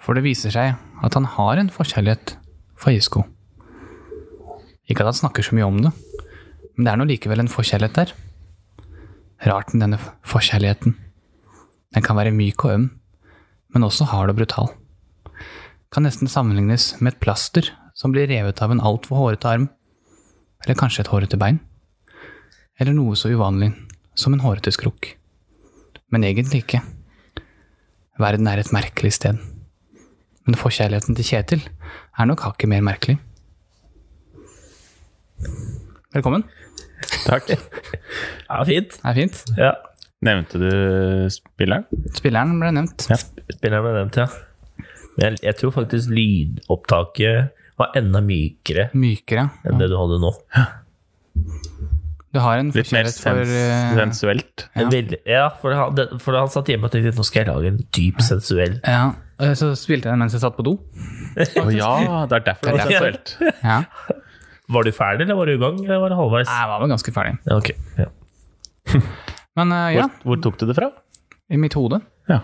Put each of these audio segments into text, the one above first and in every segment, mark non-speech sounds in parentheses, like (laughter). for det viser seg at han har en forkjærlighet for høysko. Ikke at han snakker så mye om det, men det er nå likevel en forkjærlighet der. Rart med denne f- forkjærligheten. Den kan være myk og øm, men også hard og brutal. Kan nesten sammenlignes med et plaster som blir revet av en altfor hårete arm, eller kanskje et hårete bein, eller noe så uvanlig som en hårete skrukk. Men egentlig ikke. Verden er et merkelig sted. Men forkjærligheten til Kjetil er nok hakket mer merkelig. Velkommen. Takk. Ja, fint. Det er fint. Ja. Nevnte du spilleren? Spilleren ble nevnt. Ja. Spilleren ble nevnt, ja. Men jeg, jeg tror faktisk lydopptaket var enda mykere Mykere. enn det du hadde nå. Du har en Litt mer forkjærlighet for sens eh, sensuelt. En veldig- ja for, han, det- for han satt hjemme og tenkte nå skal jeg lage en dyp sensuell Ja. eh, Så spilte jeg den mens jeg satt på do. (laughs) Å ja, Ah, det er derfor det Det er er sensuelt. Ja. Var du ferdig, eller var du i gang? Eller var det halvveis? Jeg var vel ganske ferdig. Ja, ok. Ja. Men eh, ja, Hvor, hvor tok du det fra? i mitt hode Ja.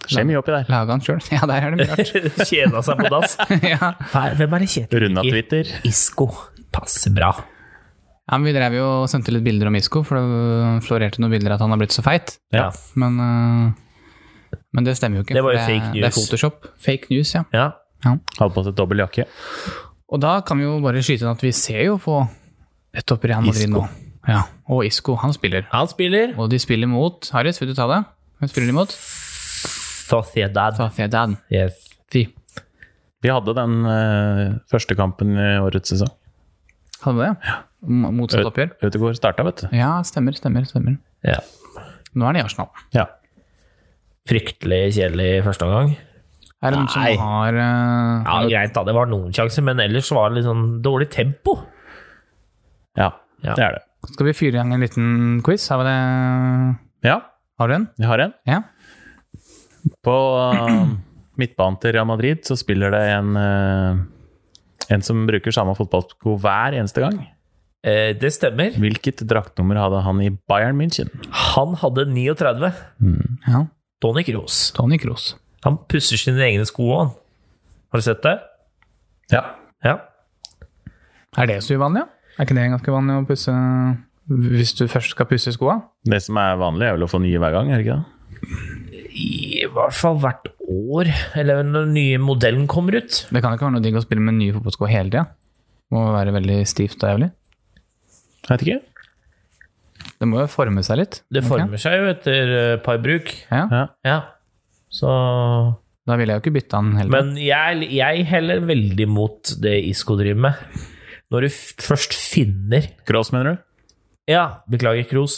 Det skjer mye oppi der. laga han sjøl. (laughs) Ja, der er det mye rart. (laughs) Kjeda seg på dass. (laughs) ja. Hva- Hvem er det Kjetil Runda Twitter. Isko. Passer bra. ja, men Vi drev jo og sendte litt bilder om Isko, for det florerte noen bilder at han har blitt så feit. Ja. Men, eh, men det stemmer jo ikke. Det var jo for fake Det er news. Photoshop. Fake news, ja. Ja. Hadde på seg dobbel jakke. Og da kan vi jo bare skyte inn at vi ser jo på rett opp i Real Madrid nå. Ja, og Isco, han spiller. Han spiller Og de spiller mot Harris, vil du ta det? Hvem spiller de mot? Sociedad. Sociedad. Yes. De. Vi hadde den eh, første kampen i årets sesong. Hadde vi det? Ja. Eh. Motsatt oppgjør? Ødegaard starta, vet du. Ja, stemmer, stemmer, stemmer. Ja. Nå er det i Arsenal. Ja. Fryktelig kjedelig første omgang. Er det noen som Nei. har eh, Ja, greit da, det var noen sjanser, men ellers var det litt sånn dårlig tempo. ja. Ja. Det er det. Skal vi fyre i gang en liten quiz? Har vi det? Ja, Har du en? vi har en. Ja. På eh, midtbanen til Real Madrid så spiller det en eh, en som bruker samme fotballsko hver eneste gang. Eh, det stemmer. Hvilket draktnummer hadde han i Bayern München? Han hadde 39. ja. Tony Kroos. Tony Kroos. Han pusser sine egne sko òg, han. Har du sett det? Ja. Ja. Er det så uvanlig, ja? Er ikke det ganske vanlig å pusse hvis du først skal pusse skoa? Det som er vanlig, er vel å få nye hver gang, er det ikke det? I hvert fall hvert år, eller når den nye modellen kommer ut. Det kan ikke være noe digg å spille med nye fotballsko hele tida. Må være veldig stivt og jævlig. Jeg vet ikke. Det må jo forme seg litt. Det ikke? former seg jo etter et par bruk. Ja, Ja. Ja. Så Da ville jeg jo ikke bytta den heller. Men jeg, jeg heller veldig mot det Isco driver med. Når du f- først finner Cross, mener du? Ja, beklager, Kroos.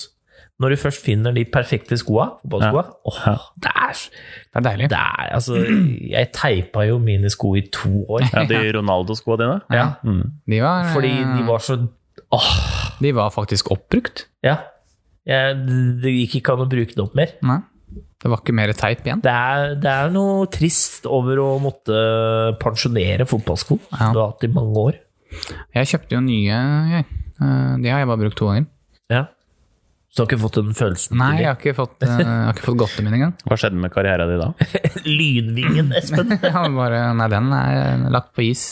Når du først finner de perfekte skoa, fotballskoa åh, Ja. det er, s- det er deilig. det er Altså, jeg teipa jo mine sko i to år. Ja, de Ronaldo-skoa dine? Ja, De var, eh, fordi de var så Åh, de var faktisk oppbrukt. ja. Jeg, det gikk ikke an å bruke det opp mer. Nei. Det var ikke mer teip igjen. Det er, det er noe trist over å måtte pensjonere fotballsko Ja. som du har hatt i mange år. Jeg kjøpte jo nye, jeg. Eh, De har jeg bare brukt to ganger. Ja. Så du har ikke fått den følelsen? Nei, jeg har ikke fått, eh, jeg har ikke fått godtet min (laughs) engang. Hva skjedde med karriera di da? Lynvingen, Espen. Jeg har bare, nei, den er lagt på is.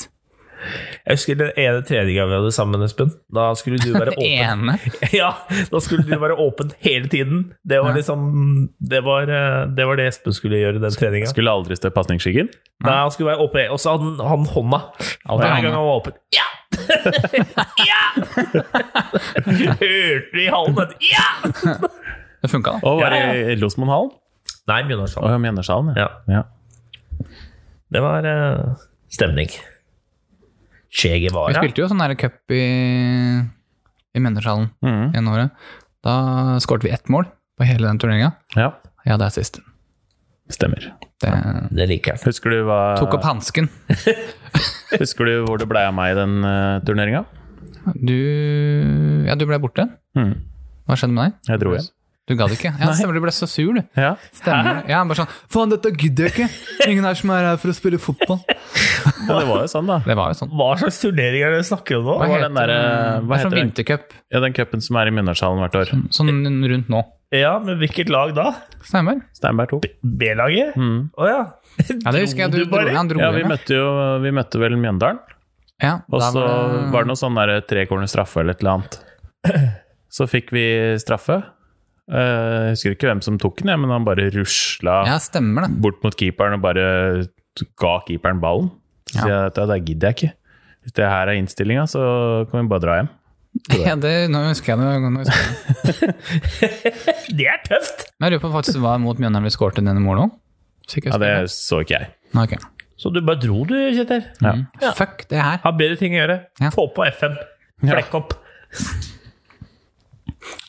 Jeg husker den ene treninga vi hadde sammen, Espen. Da skulle du (laughs) være Den åpen. ene. (laughs) Ja, da skulle du være åpen hele tiden. Det var liksom Det var eh, det, var det Espen skulle gjøre i den treninga. Skulle aldri stå i pasningsskyggen? Nei, han skulle være åpen, og så hadde han, han hånda. Hver hånda. gang han var åpen. Ja! (laughs) ja! (laughs) Hørte du i hallen den? Ja! Det funka, da. Og var Ja, i Losmonhallen? Nei, Mjøndalshallen. Og Mjøndalshallen, ja. Ja, ja. det var eh, stemning. Che Vi Guevara. spilte jo sånn der cup i, i Mjøndalshallen Mhm. gjennom året. Da skåret vi ett mål på hele den turneringa. ja. Ja, det er sist. Stemmer. Det Det liker han. Husker du, hva, tok opp hansken. husker du hvor det blei av meg i den uh, turneringa? Du Ja, du ble borte. Mhm. Hva skjedde med deg? Jeg dro hjem. Du gadd ikke? Ja, stemmer, du ble så sur, du. Ja. Stemmer. Ja, bare sånn Faen, dette gidder jeg ikke! Ingen her som er her for å spille fotball. Og det var jo sånn, da. Det var jo sånn. Hva slags turnering er det du snakker om nå? var den der, eh, det hva er Mm. heter sånn den? vintercup. Ja, Den cupen som er i Mjøndalshallen hvert år. Sånn rundt nå. Ja, men hvilket lag da? Steinberg? Steinberg 2. B-laget? Å Mm. ja. Ja, det husker jeg. Du, Dro dro, bare? han dro Ja, hjem, vi ja. møtte jo eh, vi møtte vel Mjøndalen. Ja, Og da så var det noe sånn der trekornet straffe eller et (clears throat) eller annet. Så fikk vi straffe. Eh, Jeg husker ikke hvem som tok den, jeg, men han bare rusla Ja, stemmer det. bort mot keeperen og bare ga keeperen ballen. Så Ja. sier jeg at ja, det gidder jeg ikke. Hvis det her er innstillinga, så kan vi bare dra hjem. Ja, det, nå husker jeg det. Nå husker jeg det. Det er tøft! Men jeg lurer på faktisk hva mot Mjøndalen vi skårte denne målen òg. Ja, det så ikke jeg. Så du bare dro, du, Kjetil. Mhm. Ja. Ja. Fuck det her. Har bedre ting å gjøre. Ja. Få på FM. Ja. Flekk opp.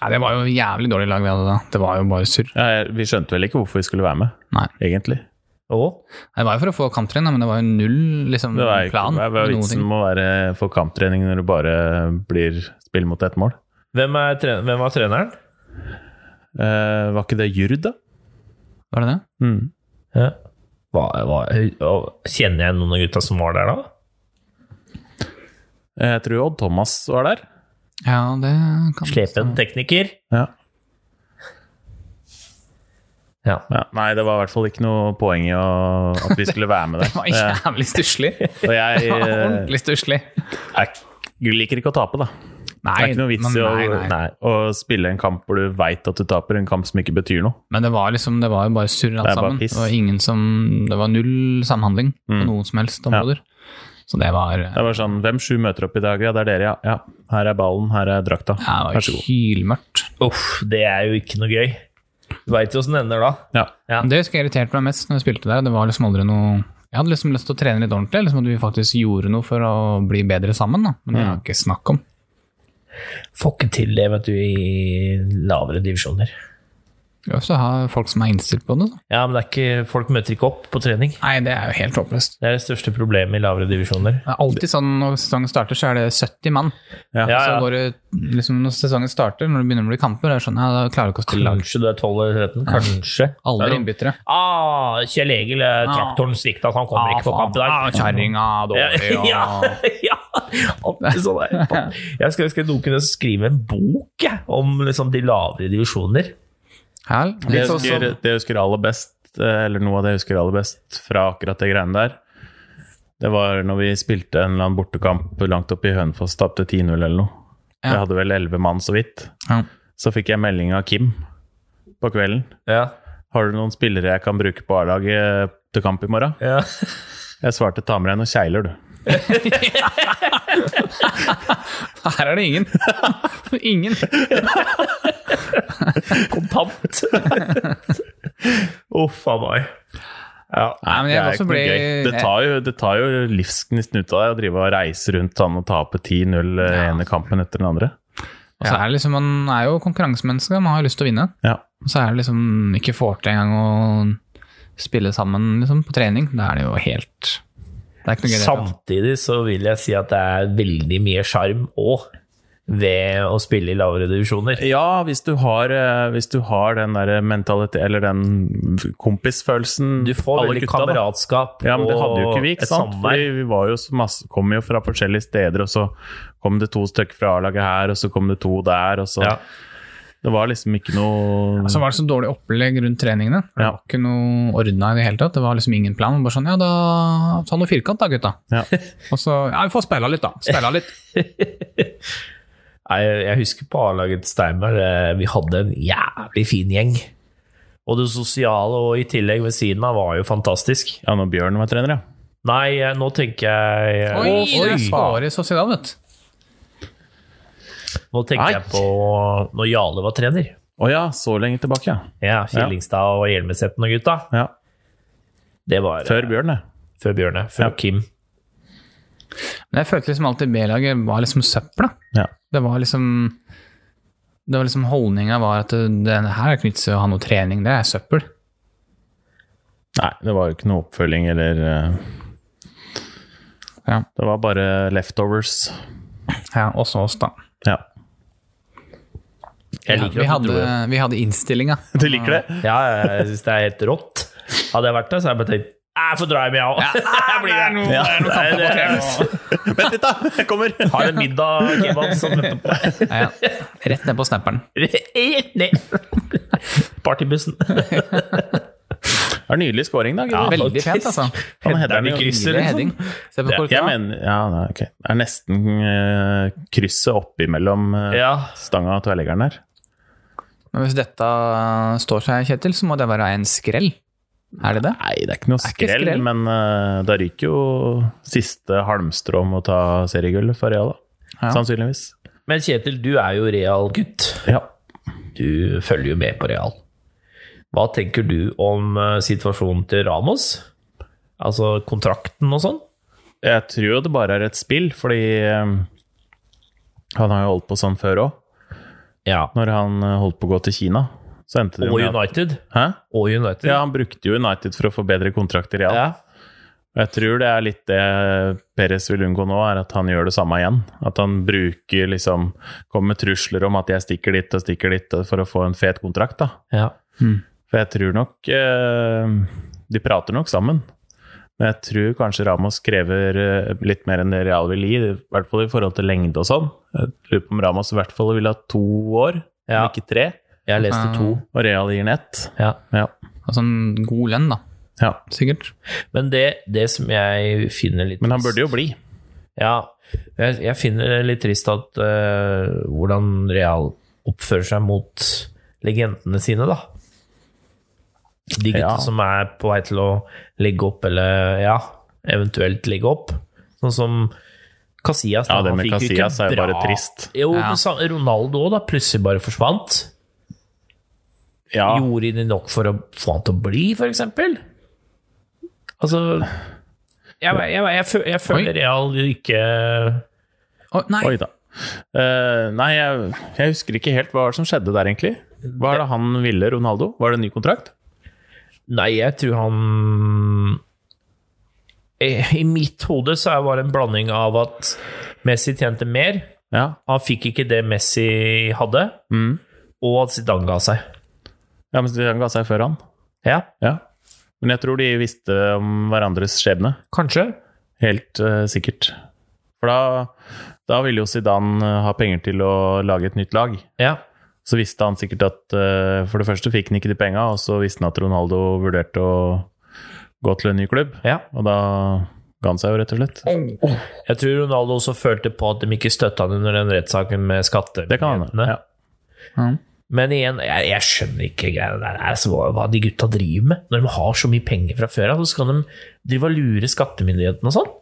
Ja, det var jo jævlig dårlig lag vi hadde da. Det var jo bare surr. Ja, jeg- vi skjønte vel ikke hvorfor vi skulle være med, Nei. egentlig. Og Det var jo for å få kamptrinn, men det var jo null liksom, Det var, ikke, plan. hva er med noen vitsen ting. med å være for kamptrening når du bare blir spill mot ett mål? hvem, er tre- hvem var treneren? Eh, var ikke det Jurd, da? Var det det? Mm. Ja. Hva- hva- og Kjenner jeg noen av gutta som var der da? Eh, Jeg tror Odd Thomas var der. Ja, det kan Slepen Sånn tekniker? Ja. Ja. Nei, det var i hvert fall ikke noe poeng i å, at vi skulle (laughs) være med der. Det var jævlig (laughs) stusslig. Eh, og (laughs) jeg Det var eh, Ordentlig stusslig. er, jeg liker ikke å tape, da. Nei, Det er ikke noe vits men, i å, nei, nei. nei, å spille en kamp hvor du veit at du taper, en kamp som ikke betyr noe. Men det var liksom, det var jo bare surr Det alt er bare sammen. piss. Det var, ingen som, det var null samhandling på Mm. noen som helst områder. Så det var Det var sånn Hvem sju møter opp i dag? Ja, det er dere, ja. ja. Her er ballen, her er drakta. ja, det Vær var så god. hylmørkt. Uff, det er jo ikke noe gøy. Du veit jo åssen det ender da. Ja. Ja. Det husker jeg irriterte meg mest når jeg spilte der. Det var liksom aldri noe Jeg hadde liksom lyst til å trene litt ordentlig, liksom at vi faktisk gjorde noe for å bli bedre sammen. Da. Men det Mm. har jeg ikke snakk om. Får ikke til det, vet du, i lavere divisjoner. Vi også har folk som er innstilt på det. Da. Ja, men det er ikke, folk møter ikke opp på trening. Nei, det er jo helt håpløst. Det er det største problemet i lavere divisjoner. Det er alltid sånn når sesongen starter, så er det 70 mann. Ja. Ja, Så ja. går det liksom Når sesongen starter, når det begynner å bli kamper, er det sånn ja, da klarer du ikke å stille lag. Kanskje du er 12 eller 13. Kanskje. Alle innbyttere. Ah, Kjell Egil, eh, Ah. traktoren svikta, så han kommer ikke på kamp i dag. Ah, Kjerringa dårlig (laughs) og Ja, (laughs) ja. Alltid sånn (laughs) der. Faen. Jeg skal, jeg skal noen kunne skrive en bok jeg, om liksom, de lavere divisjoner. Hæl? Det Litt jeg sånn husker, som det jeg husker aller best, eh, eller noe av det jeg husker aller best fra akkurat det greiene der, det var når vi spilte en eller annen bortekamp langt oppe i Hønefoss, tapte 10-0 eller noe. Ja. Jeg hadde vel 11 mann så vidt. ja. Så fikk jeg melding av Kim på kvelden. Ja. Har du noen spillere jeg kan bruke på A-laget til kamp i morgen? ja. Jeg svarte ta med deg noen kjegler, du. Her er det ingen. (laughs) (laughs) ingen. (laughs) Kontant. Uff a meg. Ja. Nei, men jeg det også noe ble- gøy. Det tar jo, det tar jo livsgnisten ut av deg å drive og reise rundt sånn og tape 10-0 den ene kampen etter den andre. Og så er det liksom, Man er jo konkurransemenneske, man har jo lyst til å vinne. Ja. Og så er det liksom ikke får til engang å spille sammen liksom, på trening. Da er det jo helt Det er ikke noe gøy. i det hele tatt. Samtidig så vil jeg si at det er veldig mye sjarm òg ved å spille i lavere divisjoner. Ja, hvis du har, eh, hvis du har den der mentalitet, eller den kompisfølelsen Du får alle veldig gutta, da. kameratskap Ja, men det hadde jo ikke vi, et ikke sant? Fordi samvær. vi var jo så masse, kom jo fra forskjellige steder, og så kom det to stykker fra A-laget her, og så kom det to der, og så Ja. Det var liksom ikke noe Så var det så dårlig opplegg rundt treningene. Det Ja. var ikke noe ordna i det hele tatt. Det var liksom ingen plan. Bare sånn, ja, da ta noe firkant da, gutta. ja. Og så Ja, vi får spille litt, da. Spille (laughs) litt. Nei, jeg husker på A-laget til Steinberg, eh, vi hadde en jævlig fin gjeng. Og det sosiale og i tillegg ved siden av var jo fantastisk. ja, når Bjørn var trener, ja. Nei, eh, nå tenker jeg eh, Oi, det er skåret i sosial, vet du. Nå tenker jeg Nei. på når Jale var trener. Å ja, så lenge tilbake, ja. Ja, Ja. Killingstad og Hjelmesetten og gutta. ja. Det var eh, Før Bjørn, ja. før Bjørne. Før Ja. Kim. Men jeg følte liksom alltid B-laget var liksom søpla. ja. Det var liksom det var liksom Holdninga var at det, det her er ikke vits i å ha noe trening, det er søppel. Nei, det var jo ikke noe oppfølging eller eh, Ja. Det var bare leftovers. Ja, også oss, da. Ja. Ja, Jeg vi, liker at du hadde, dro det. vi hadde innstillinga. Du liker det? Ja, jeg syns det er helt rått. Hadde jeg vært der, så hadde jeg bare tenkt Jeg får dra hjem, jeg (laughs) òg. Jeg blir her. Ja, det er det. Nei, Vent litt, da! Jeg (laughs) kommer! Har en middag kebab som (laughs) etterpå. ja. Rett ned på snapperen. Nei. Partybussen. Det er nydelig scoring, da. Ja, Gud. Veldig fint, faktisk. altså. Han header den Headeren i jo krysset, Nydelig liksom. heading. Se på Jeg korka. mener Ja, nei, ok. Det er nesten eh, krysset oppimellom uh, Ja. stanga og tverrleggeren der. Men hvis dette eh, står seg, Kjetil, så må det være en skrell. Er det det? Nei, det er ikke noe er ikke skrell, skrell. men eh, da ryker jo siste halmstrå om å ta seriegullet for Real, da. Ja. Sannsynligvis. Men Kjetil, du er jo real-gutt. Ja. Du følger jo med på real. Hva tenker du om eh, situasjonen til Ramos? Altså kontrakten og sånn? Jeg tror jo det bare er et spill, fordi eh, han har jo holdt på sånn før òg. Ja. Når han eh, holdt på å gå til Kina, så endte det jo Og med at- United. Hæ? Og United. Ja, han brukte jo United for å få bedre kontrakt i Real. Ja. Og Jeg tror det er litt det Perez vil unngå nå, er at han gjør det samme igjen. At han bruker liksom Kommer med trusler om at jeg stikker dit og stikker dit for å få en fet kontrakt, da. Ja. For jeg tror nok eh, De prater nok sammen. Men jeg tror kanskje Ramos krever eh, litt mer enn det Real vil gi, i hvert fall i forhold til lengde og sånn. Jeg lurer på om Ramos i hvert fall vil ha to år, Ja. om ikke tre. Jeg leste to. Og Real gir den ett. Ja. Ja. Altså en god lønn, da. ja. Sikkert. Men det, det som jeg finner litt Men han burde jo bli. Ja, jeg, jeg finner det litt trist at eh, hvordan Real oppfører seg mot legendene sine, da. De gutta Ja. som er på vei til å legge opp, eller ja, eventuelt legge opp. Sånn som Casillas. da, Ja, det han med fikk jo ikke Casillas er jo bra- bare trist. Jo, Ja. men sa- Ronaldo òg, da. Plutselig bare forsvant. Ja. Gjorde de nok for å få han til å bli, for eksempel? Altså Jeg, jeg, jeg, fø- jeg føler Real ikke Å, nei! Oi da. Eh, nei, jeg, jeg husker ikke helt hva var det som skjedde der, egentlig. Hva er det han ville, Ronaldo? Var det en ny kontrakt? Nei, jeg tror han I i mitt hode så var det en blanding av at Messi tjente mer, Ja. han fikk ikke det Messi hadde, Mm. og at Zidane ga seg. ja, men han ga seg før han. Ja, Ja. Men jeg tror de visste om hverandres skjebne. kanskje. Helt eh, sikkert. For da, da ville jo Zidane eh, ha penger til å lage et nytt lag. Ja. Så visste han sikkert at eh, For det første fikk han ikke de penga, og så visste han at Ronaldo vurderte å gå til en ny klubb. ja. Og da ga han seg jo, rett og slett. Jeg tror Ronaldo også følte på at de ikke støtta ham under den rettssaken med Det kan han. skattemyndighetene. Ja. Mm. Ja. Men igjen, jeg, jeg skjønner ikke greiene der. Altså, hva, hva de gutta driver med. Når de har så mye penger fra før av, så skal de drive og lure skattemyndighetene og sånn.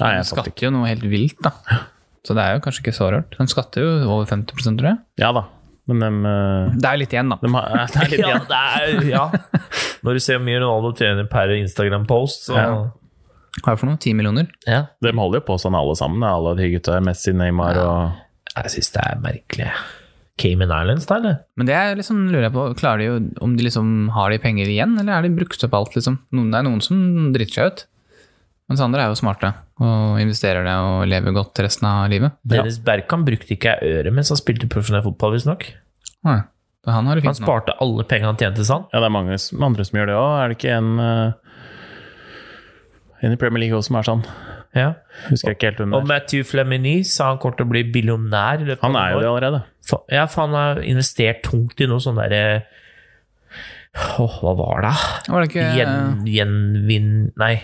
Nei, De jeg fatter ikke. skatter jo noe helt vilt, da. Så det er jo kanskje ikke så rart. De skatter jo over 50 tror jeg. Ja da. Men dem eh, Det er jo litt igjen, da. De har, (laughs) eh, det er litt Ja, igjen. det er, ja. Når du ser hvor mye Ronaldo tjener per Instagram-post, så Ja. Hva er det for noe? 10 millioner? ja. De holder jo på sånn alle sammen, alle de gutta. her, Messi, Neymar og Jeg syns det er merkelig. Cayman Islands, da, eller? Men det er liksom, lurer jeg på, klarer de jo om de liksom har de penger igjen, eller er de brukt opp alt, liksom? Noen, det er noen som driter seg ut. Mens andre er jo smarte og investerer det og lever godt resten av livet. Dennis Berkan brukte ikke ei øre mens han spilte profesjonell fotball, visstnok. Nei. Så han har det Han fint nå. sparte alle pengene han tjente, sa han. Ja, det er mange som, andre som gjør det òg. Er det ikke en eh, en i Premier League også som er sånn? Ja. Husker jeg ikke helt hvem Og det er. Matthew Flamini sa han kommer til å bli billionær. i løpet Han av er noen jo det år. allerede. Fa- Ja, for han har investert tungt i noe sånn derre Åh, hva var det? Var det ikke Gjen, gjenvin... Nei,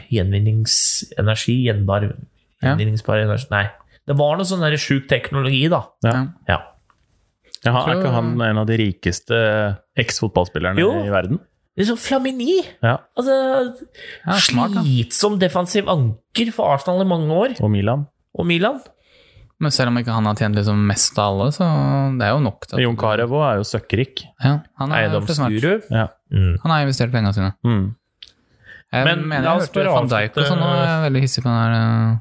gjenvinningsenergi. Gjenbar, Ja. gjenvinningsbar energi Nei. Det var noe sånn der sjuk teknologi, da. Ja. Ja. Ja. Ja, han, er Tror- ikke han en av de rikeste eh, eks-fotballspillerne Jo. i verden? Liksom Flamini! Ja. Altså, Ja, smart, da. slitsom defensiv anker for Arsenal i mange år. Og Milan. Og Milan. Men selv om ikke han har tjent liksom mest av alle, så det er jo nok. til at- Jon Carew òg er jo søkkrik. Ja, han er jo smart. Eiendomsguru. Ja. Mm. Han har investert pengene sine. Mm. Jeg Men mener la jeg oss hørte bare van Dijk og avslutte- sånn, og jeg er veldig hissig på den der uh,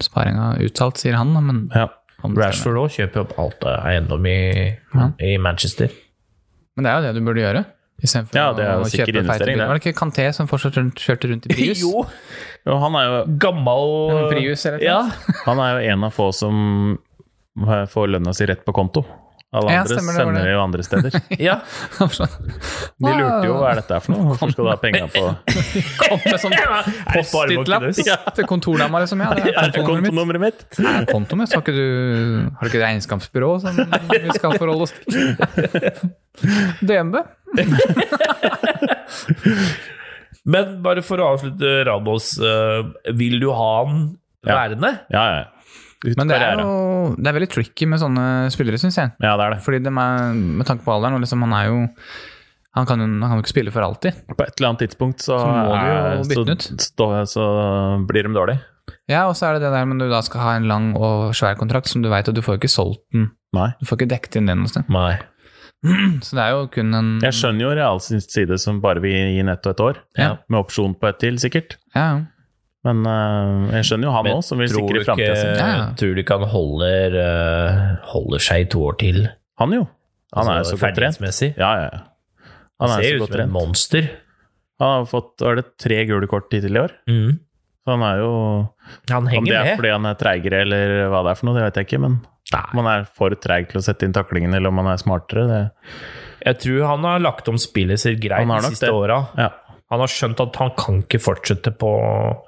sparinga uttalt, sier han, da, men ja. han bestemmer. Rashford òg kjøper opp alt av eiendom i, Ja. i Manchester. Men det er jo det du burde gjøre. Istedenfor Ja, det er jo å sikker kjøpe feite investering, biler. det. Var det ikke Kanté som fortsatt rundt- kjørte rundt i (laughs) Prius? (laughs) jo! Og han er jo Gammal Prius eller noe? Ja. eh, Han er jo en av få som får lønna si rett på konto. Alle Ja, andre stemmer det, var sender det. det jo andre steder. (laughs) Ja, sånn, De lurte jo hva er dette her for noe, hvorfor skal du ha penga på Kom med sånn post-it-lapp Ja. til kontordama, liksom. (laughs) Ja, (laughs) det er kontonummeret mitt. kontonummeret mitt? Er det kontoen min? Skal ikke du, har du ikke et regnskapsbyrå som vi skal forholde oss til? DNB? Men bare for å avslutte Ramos, eh, vil du ha han Ja. værende? Ja, ja. Ut Men det er karriere. jo det er veldig tricky med sånne spillere, syns jeg. Ja, det er det. Fordi de er, med tanke på alderen, og liksom, han er jo han kan, jo- han kan jo ikke spille for alltid. På et eller annet tidspunkt så, Så må du jo er- bytte den så, så, så blir de dårlige. Ja, og så er det det der men du da skal ha en lang og svær kontrakt som du veit at du får ikke solgt den. Nei. Du får ikke dekket inn det noe sted. Nei. Så det er jo kun en Jeg skjønner jo Real sin side som bare vil gi netto et år, Ja. med opsjon på ett til, sikkert. Ja, ja. Men eh, jeg skjønner jo han òg, som vil tror sikre du ikke, framtida si. Ja, ja. Tror du ikke han holder, eh, holder seg i to år til? Han jo. Han er Altså, jo så godt trent. ferdighetsmessig. Ja, ja. ja. Han er ser jo ut så godt som et trent. monster. Han har fått er det tre gule kort hittil i år. Så han er Mm. jo Han Om det henger er med. fordi han er treigere eller hva det er for noe, det vet jeg ikke. Men om Nei. han er for treig til å sette inn taklingen, eller om han er smartere, det Jeg tror han har lagt om spillet sitt greit Han har de nok siste det. åra. Ja. Han har skjønt at han kan ikke fortsette på,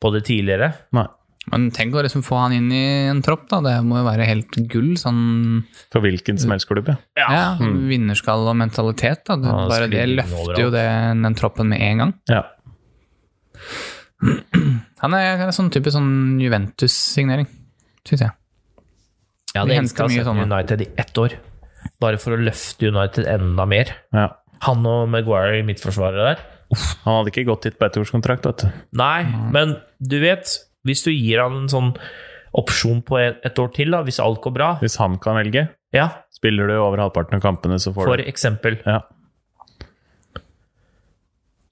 på det tidligere. Nei. Men tenk å liksom få han inn i en tropp, da. Det må jo være helt gull. Sånn For hvilken som helst klubb, ja. ja, vinnerskalle og mentalitet, da. Det, Ja, bare det sklir den løfter jo overalt. det, den troppen med en gang. ja. Han er, han er sånn type sånn Juventus-signering, syns jeg. Jeg Vi hadde henter elska å mye se sånne. United i ett år. Bare for å løfte United enda mer. ja. Han og Maguire i midtforsvaret der. Han hadde ikke gått dit på ettårskontrakt, vet du. Nei, men du vet Hvis du gir han en sånn opsjon på et, et år til, da, hvis alt går bra Hvis han kan velge, Ja, spiller du over halvparten av kampene, så får for du eksempel. ja.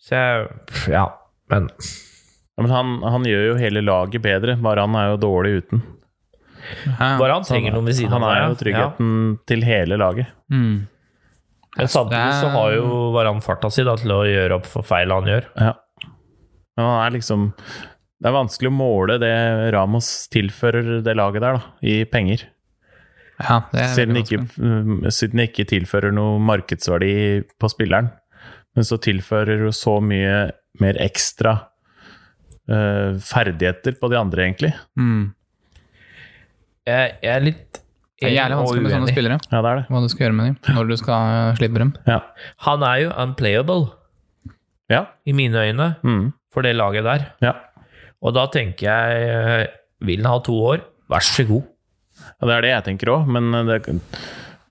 Så jeg pff, Ja, men Ja, men han, han gjør jo hele laget bedre, bare han er jo dårlig uten. Ja. Bare han trenger noen ved siden Han av er der, jo tryggheten til hele laget. Mm. Ja. Men samtidig så har jo Varan farta si da, til å gjøre opp for feil han gjør. Ja. Men han er liksom Det er vanskelig å måle det Ramos tilfører det laget der, da, i penger. Ja, det er Siden Eh, veldig ikke, vanskelig. mm, siden det ikke tilfører noe markedsverdi på spilleren. Men så tilfører jo så mye mer ekstra eh, ferdigheter på de andre, egentlig. mm. Jeg, jeg er litt Det er jævlig vanskelig med sånne spillere. Ja, det er det. Hva du skal gjøre med dem når du skal slippe dem. Ja. Han er jo unplayable, Ja. i mine øyne, Mm. for det laget der. ja. Og da tenker jeg eh, Vil han ha to år? Vær så god. Ja, det er det jeg tenker òg, men eh, det,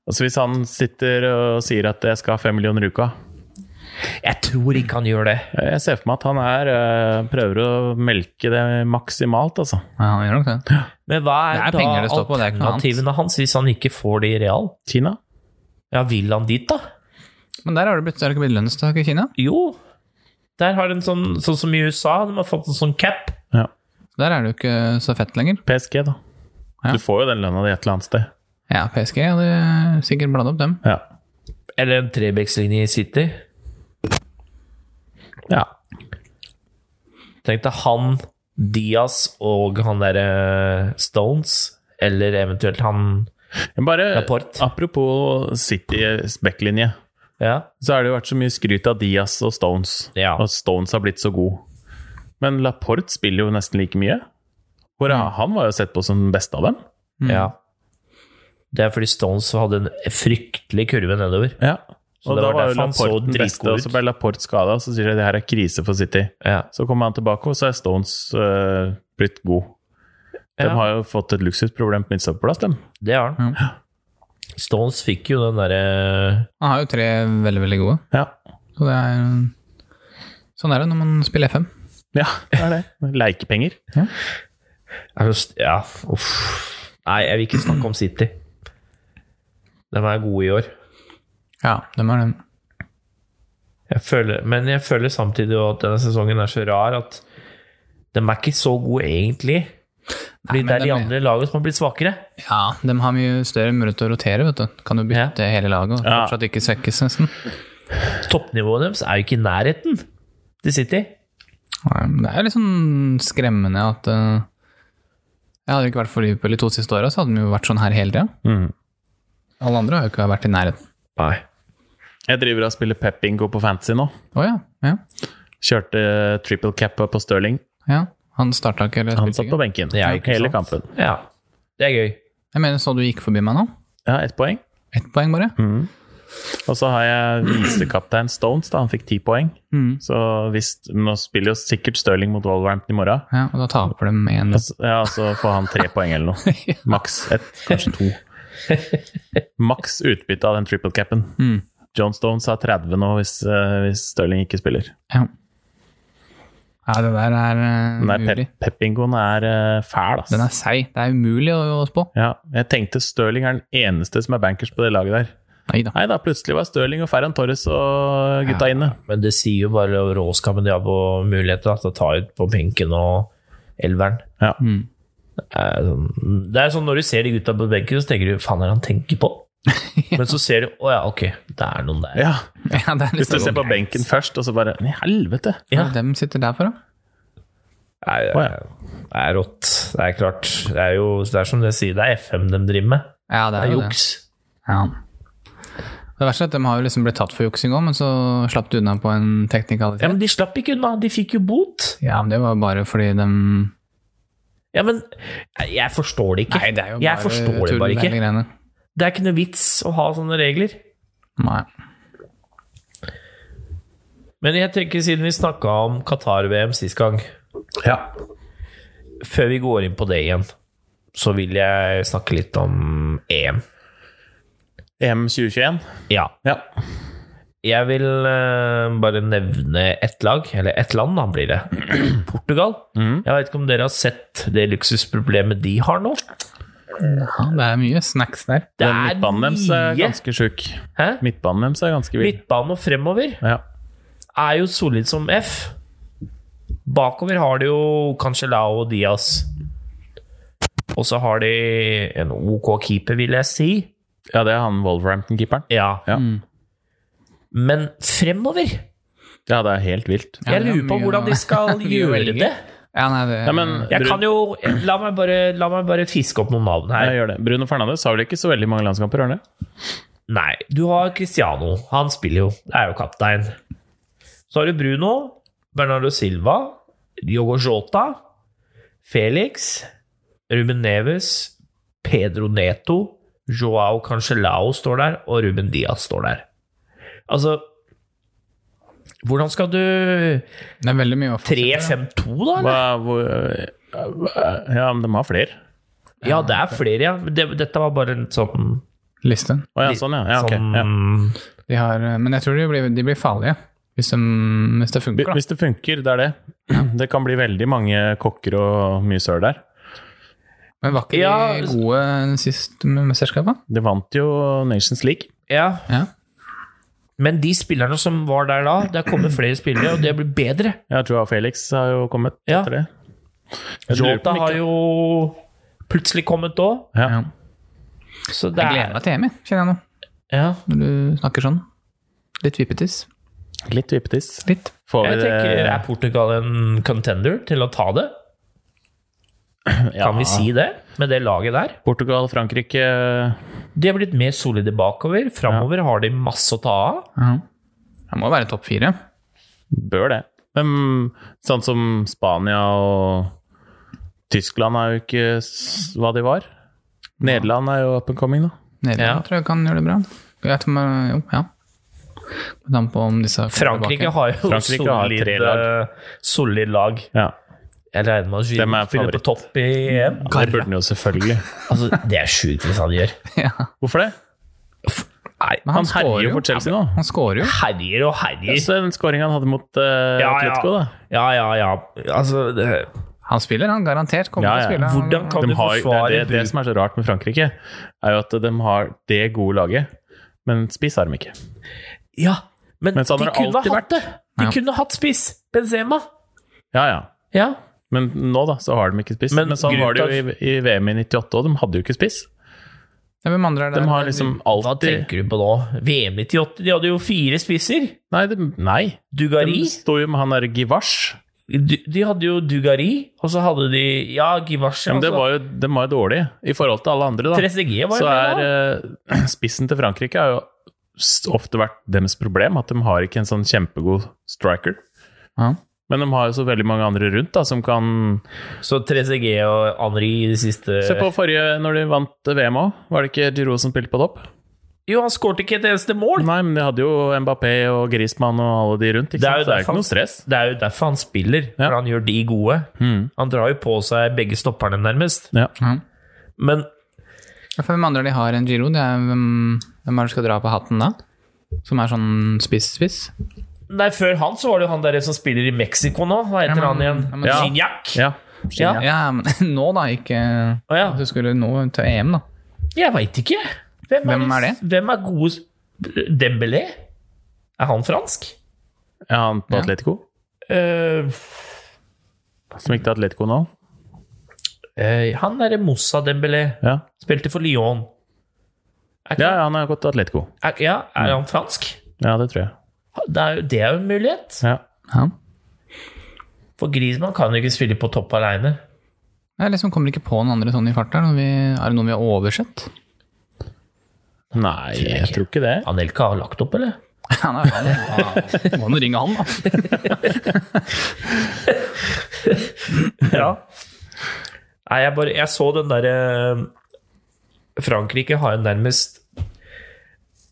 altså hvis han sitter og sier at jeg skal ha fem millioner i uka eh, Jeg tror ikke han gjør det. Jeg ser for meg at han er, eh, prøver å melke det maksimalt, altså. Ja, han gjør nok det. Men hva er, Det er da penger det står på, det er ikke noe annet. alternativene hans hvis han ikke får det i real? Kina? Ja, vil han dit, da? Men der har det blitt, er det ikke blitt lønnstak i Kina. Jo. Der har en sånn, sånn som i USA, de har fått en sånn cap. Ja. Der er det jo ikke så fett lenger. PSG, da. Ja. Du får jo den lønna di et eller annet sted. Ja, PSG hadde sikkert bladd opp dem. Ja. Eller en trebekslinje i City. ja. Tenk deg han, Diaz og han derre Stones, eller eventuelt han Men bare Rapport. apropos Citys backlinje, Ja. så har det jo vært så mye skryt av Diaz og Stones, Ja. og Stones har blitt så god. Men Laporte spiller jo nesten like mye. Hvor Han var jo sett på som den beste av dem. ja. Det er fordi Stones hadde en fryktelig kurve nedover. Ja. Så og det da var var jo derfor han så Laporte den beste, dritgod og ut. så ble Laporte skada, og så sier de det her er krise for City. Ja. Så kommer han tilbake, og så er Stones eh, blitt god. De Ja. har jo fått et luksusproblem på midtstopperplass, dem. Det har han. Stones fikk jo den derre Han har jo tre veldig, veldig gode. Ja. Så det er Sånn er det når man spiller FM. ja, det er det. (laughs) Leikepenger. eh, Er det st- Ja, uff. Nei, jeg vil ikke snakke om City. De er gode i år. Ja, dem er dem. Jeg føler, men jeg føler samtidig også at denne sesongen er så rar at de er ikke så gode egentlig. Fordi men det er de dem er- andre lagene som har blitt svakere. Ja, dem har mye større mulighet til å rotere, vet du. Kan jo bytte hele laget og Ja. fortsatt ikke svekkes, nesten. Toppnivået deres er jo ikke i nærheten til City. Nei, men Det er jo litt sånn skremmende at eh, ja, Hadde det ikke vært for Liverpool de to siste åra, så hadde de jo vært sånn her hele tida. Mm. Alle andre har jo ikke vært i nærheten. Nei. Jeg driver og spiller pep-bingo på Fantasy nå. Å ja. ja. Kjørte triple cap på Stirling. Ja, han starta ikke eller Han spilte satt på benken Ja, ikke hele sant. kampen. Ja. Det er gøy. ikke. Jeg mener, så du gikk forbi meg nå? Ja, ett poeng. Ett poeng bare? Mm. Og så har jeg visekaptein Stones, da. Han fikk ti poeng. Så hvis Nå spiller jo sikkert Stirling mot Wolverhampton i morgen. Ja, og da taper de med en Og så- Ja, og så får han tre poeng eller noe. Maks ett, kanskje to. Maks utbytte av den triple capen. John Stones har 30 nå hvis, eh, hvis Stirling ikke spiller. Ja. ja, det der er eh, Den der umulig. pep- pep-bingoen er eh, fæl, ass. Den er seig. Det er umulig å, å spå. Ja, jeg tenkte Stirling er den eneste som er bankers på det laget der. Nei da. Nei da, plutselig var Stirling og Ferran Torres og gutta inne. Men det sier jo bare råskapen de har på muligheter da, til å ta ut på benken og elveren. Ja. Det er sånn- Det er sånn når du ser de gutta på benken, så tenker du faen er det han tenker (laughs) på? Men så ser du å ja, ok, det er noen der. ja. (laughs) Ja, det er Hvis du liksom, ser på benken først, og så bare Men i helvete! Hva er det de sitter der for, da? Nei, det, Å, er, ja. det er rått. Det er klart. Det er jo det er som det sier, det er FM de driver med. Ja, det er Det er jo det. juks. Ja. Det verste er at de har jo liksom blitt tatt for juksing òg, men så slapp du unna på en Ja, teknikalitet. men de slapp ikke unna. De fikk jo bot. Ja, men det var bare fordi de Nei, Ja, men jeg forstår det ikke. jeg forstår det tull, bare hele ikke. greiene. Det er ikke noe vits å ha sånne regler. Nei. Men jeg tenker siden vi snakka om Qatar-VM sist gang Ja. Før vi går inn på det igjen, så vil jeg snakke litt om EM. EM 2021. Ja. Ja. Jeg vil eh, bare nevne ett lag, eller ett land, da blir det. (clears throat) Portugal. Mhm. Jeg veit ikke om dere har sett det luksusproblemet de har nå? Ja, det er mye snacks der. Det Den er midtbanen deres er mye. ganske sjuk. Hæ? Midtbanen deres er ganske vill. Midtbanen og fremover Ja. er jo solid som F. Bakover har de jo Cancelao og Diaz. Og så har de en OK keeper, vil jeg si. ja, det er han Wolverhampton-keeperen. Ja. Ja. Men fremover! ja, det er helt vilt. Ja, Jeg det er lurer på mye hvordan å- de skal (laughs) mye å gjøre velge. det. Ja, nei, det Nei, men Jeg Bru- kan jo La meg bare, la meg bare fiske opp noen navn ja, her. gjør det. Bruno Fernandes har vel ikke så veldig mange landskamper, har han det? Nei, du har Cristiano. Han spiller jo. Det er jo kaptein. Så har du Bruno, Bernardo Silva, Diogo Jota, Felix, Ruben Neves, Pedro Neto, Joao Cancelao står der, og Ruben Diaz står der. Altså Hvordan skal du det er veldig mye å 3-5-2, da? Eller? Hva, hvor, øh, ja, men de har flere. Ja, det er flere, ja. Men Det, dette var bare en sånn, Listen. Å ja, sånn, ja. ja, ok. sånn ja. De har, eh, men jeg tror de blir, de blir farlige hvis, de, hvis det Bi- funker. Da. Hvis det funker, det er det. Det kan bli veldig mange kokker og mye søl der. Men var ikke Ja, de gode sist med mesterskapet? De vant jo Nations League. ja. Ja. Men de spillerne som var der da, det er kommet flere spillere, og det blir bedre. Jeg tror Felix har jo kommet Ja. etter det. Jeg lurer på Jota om har ikke- jo plutselig kommet òg, ja. Ja. så det Jeg gleder er meg til EM, jeg, kjenner jeg nå, ja. når du snakker sånn. Litt vippetiss. Litt vippetiss. Litt. Får vi Jeg det tenker, Er Portugal en contender til å ta det? ja. Kan vi si det, med det laget der? Portugal, Frankrike De har blitt mer solide bakover. Framover har de masse å ta av. Ja. Det må være topp fire. bør det. Men sånn som Spania og Tyskland er jo ikke s- hva de var. Nederland er jo up and coming, da. Nederland Ja. tror jeg kan gjøre det bra. Jeg tror man, jo, ja. Med tanke på om disse kommer Frankrike tilbake. har jo Frankrike har solid, eh, tre lag. solid lag. Ja. Jeg regner med at Dem Giroud er spiller på favoritt. topp i EM. Det burde den jo selvfølgelig. Altså, det er sjukt hvis han gjør. (laughs) ja. Hvorfor det? Nei, Men Han, han, scorer herjer jo jo. for Chelsea nå. Han scorer jo. herjer og herjer. Så den skåringen han hadde mot Ja, eh, ja. Atletico, da. Ja, ja, ja. Altså, det, Han spiller, han garantert kommer Ja, til ja. å spille. Han- hvordan kan De du har, det, forsvare er det, det bruk- som er så rart med Frankrike, er jo at de har det gode laget, men spiss har de ikke. Ja, men, Men sånn de har det kunne alltid hatt det. De Ja. kunne hatt spiss. Benzema. Ja, ja. Ja. Men nå da, så har de ikke spiss. Men Men, sånn var det grunnen jo i, i VM i 98 òg, de hadde jo ikke spiss. Ja, Hvem andre er det? De har liksom Hva alltid tenker du på nå? VM 98, de hadde jo fire spisser. Nei, de, nei. Dugari. de sto jo med han der Givasj. De, de hadde jo Dugari, og så hadde de ja, Givashi. Men det altså. var jo, de var jo dårlig i forhold til alle andre, da. 3CG var Så jo er det, da. eh, (clears throat) spissen til Frankrike har jo s- ofte vært deres problem, at de har ikke en sånn kjempegod striker. Ja. Men de har jo så veldig mange andre rundt da, som kan Så 3CG og Henri i det siste eh, Se på forrige, når de vant VM òg. Var det ikke Giroud som spilte på topp? Jo, han skårte ikke et eneste mål! Nei, men de hadde jo Mbappé og Griezmann og alle de rundt. Ikke Det er jo sant? Så det er jo derfor- ikke noe stress. Det er jo derfor han spiller, Ja. for han gjør de gode. Mm. Han drar jo på seg begge stopperne, nærmest. Ja. Ja. Men Ja, for Hvem andre de har enn Giro? Det er, hvem, hvem er det som skal dra på hatten da? Som er sånn spiss-spiss? nei, før han så var det jo han der som spiller i Mexico nå. Hva heter Ja, men- han ja, igjen? men- Ja. ja. Ja. men (laughs) nå da, ikke Å ja. At du skulle nå til EM, da. Jeg veit ikke. Hvem Hvem er det? Hvem er gode s- Dembélé? Er han fransk? Ja, han på Ja. Atletico, Eh, som gikk til Atletico nå. eh, han derre Moussa Dembélé Ja, spilte for Lyon. Er, ikke- ja han har gått til Atletico. er, ja, er han fransk? Ja, det tror jeg. Det er, jo- det er jo en mulighet. Ja. Ja. For Griezmann kan jo ikke spille på topp aleine. Jeg liksom kommer ikke på noen andre sånn i farta. Er det noen vi har oversett? (laughs) Nei, jeg tror ikke det. Anelka har lagt opp, eller? Han er, han er, må nå ringe han, da. Ja. Nei, jeg bare Jeg så den derre Frankrike har jo nærmest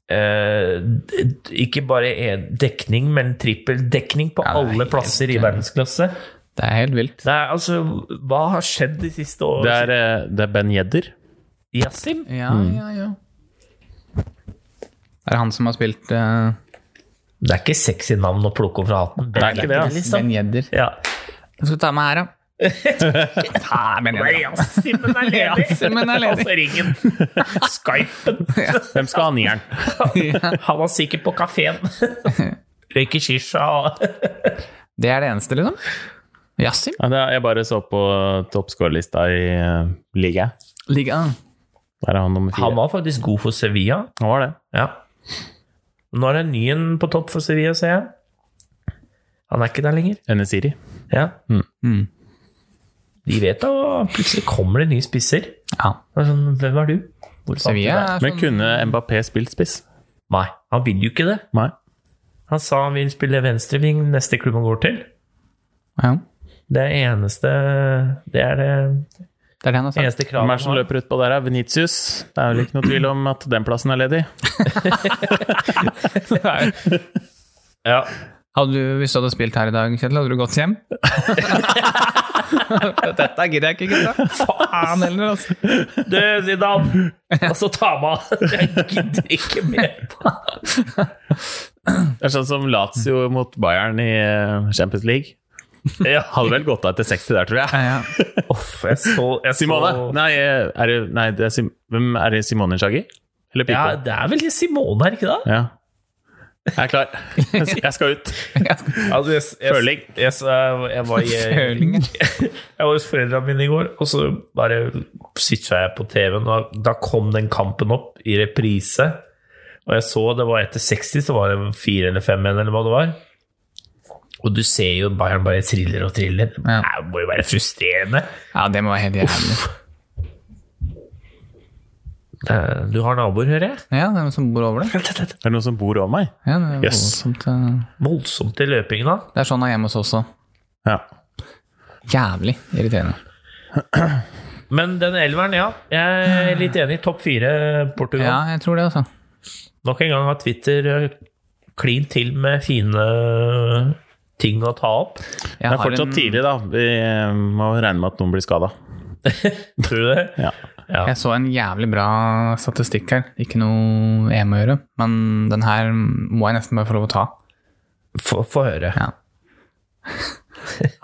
eh, d- d- ikke bare en dekning, men trippel dekning på Ja, det er alle helt- plasser i verdensklasse. Det er helt vilt. Det er altså Hva har skjedd de siste Det årene? er, eh, det er Ben Jedder. Yassim? Ja, ja, ja. Det er han som har spilt uh, Det er ikke sexy navn å plukke opp fra hatten. Det liksom. er sånn- ikke det, ass. Ben Jedder. Ja. Jeg skal ta med her, da. (laughs) Ta Ben Nei, Jedder. Yassimen er ledig! Yassimen er (laughs) ledig. Og så ringen. Skypen. Hvem skal ha nieren? Han var sikkert på kafeen. Røyker shisha og (laughs) Det er det eneste, liksom? Yasim? Ja, det er, jeg bare så på toppskårerlista i uh, ligaen. Ligaen. Der er han nummer fire. Han var faktisk god for Sevilla. Han var det. Ja. Nå er det en ny en på topp for Sevilla, ser jeg. Han er ikke der lenger. Enesiri. Ja. Mm. De vet da, plutselig kommer det nye spisser. Ja. Det er Sånn, Hvem er du? Hvor fant Sevilla du deg? er Men sånn kunne Mbappé spilt spiss? Nei, han vil jo ikke det. Nei. Han sa han vil spille venstreving neste klubb han går til. sånn- ja. Det er eneste Det er det Det er det han har sagt. eneste Hvem kravet er det som løper utpå der? er Venitius. Det er vel ikke noe tvil om at den plassen er ledig. Ja. Hadde du, hvis du hadde spilt her i dag, Kjetil, hadde du gått hjem? (laughs) Dette gidder jeg ikke, gutta. Faen heller, altså. (laughs) Du, Zidane! Og så ta meg av! (laughs) Jeg gidder ikke mer på Det er sånn som Lazio mot Bayern i eh, Champions League. ja. (laughs) Hadde vel gått av etter 60 der, tror jeg. Ja, ja. Uff, jeg så, jeg Simone? så Nei, eh, er det, nei det er Sim hvem er det Simone Inzaghi? Eller Ja, Pipo? det er vel Simone her, ikke det? Ja. Jeg er (laughs) klar. Jeg skal ut. Altså, jeg, jeg, Føling. Jeg, jeg, jeg var i Føling, Jeg var hos foreldrene mine i går, og så bare switcha jeg på TV-en. Og da kom den kampen opp i reprise. Og jeg så det var etter 60, så var det fire eller fem igjen, eller hva det var. Og du ser jo Bayern bare triller og triller. Ja. Det må jo være frustrerende. ja, det må være helt jævlig. Eh, Du har naboer, hører jeg. Ja, det er noen som bor over det. Er det noen som bor over meg? Ja, det, er Yes. voldsomt, eh. Voldsomt i løpingen, da. det er sånn det er hjemme hos oss også. Ja. Jævlig irriterende. Men den elveren, ja. Jeg er litt enig. Topp fire Portugal. Ja, jeg tror det, altså. Nok en gang har Twitter eh, klint til med fine eh, ting å ta opp. Jeg Det er har fortsatt en- tidlig, da. Vi eh, må regne med at noen blir skada. Tror du det? Ja. Ja. Jeg så en jævlig bra statistikk her. Ikke noe EM å gjøre, men den her må jeg nesten bare få lov å ta. Få få høre. Ja.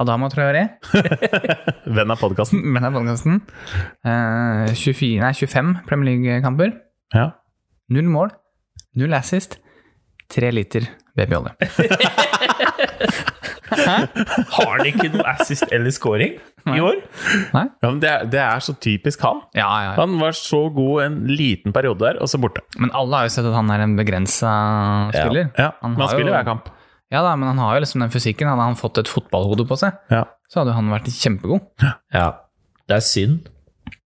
Adama Traoré, Venn av (laughs) podkasten. men det er podkasten. Eh, 24, nei, 25 Premier League-kamper. Ja. Null mål, null assist, tre liter babyolje. Har han ikke noe assist eller scoring i år? Nei? ja, men det er, det er så typisk han. Ja, ja, ja. Han var så god en liten periode der, og så borte. Men alle har jo sett at han er en begrensa spiller. Ja, Han Men han har jo- spiller hver kamp. Ja da, men han har jo liksom den fysikken. Hadde han fått et fotballhode på seg, Ja. så hadde jo han vært kjempegod. Ja. Det er synd.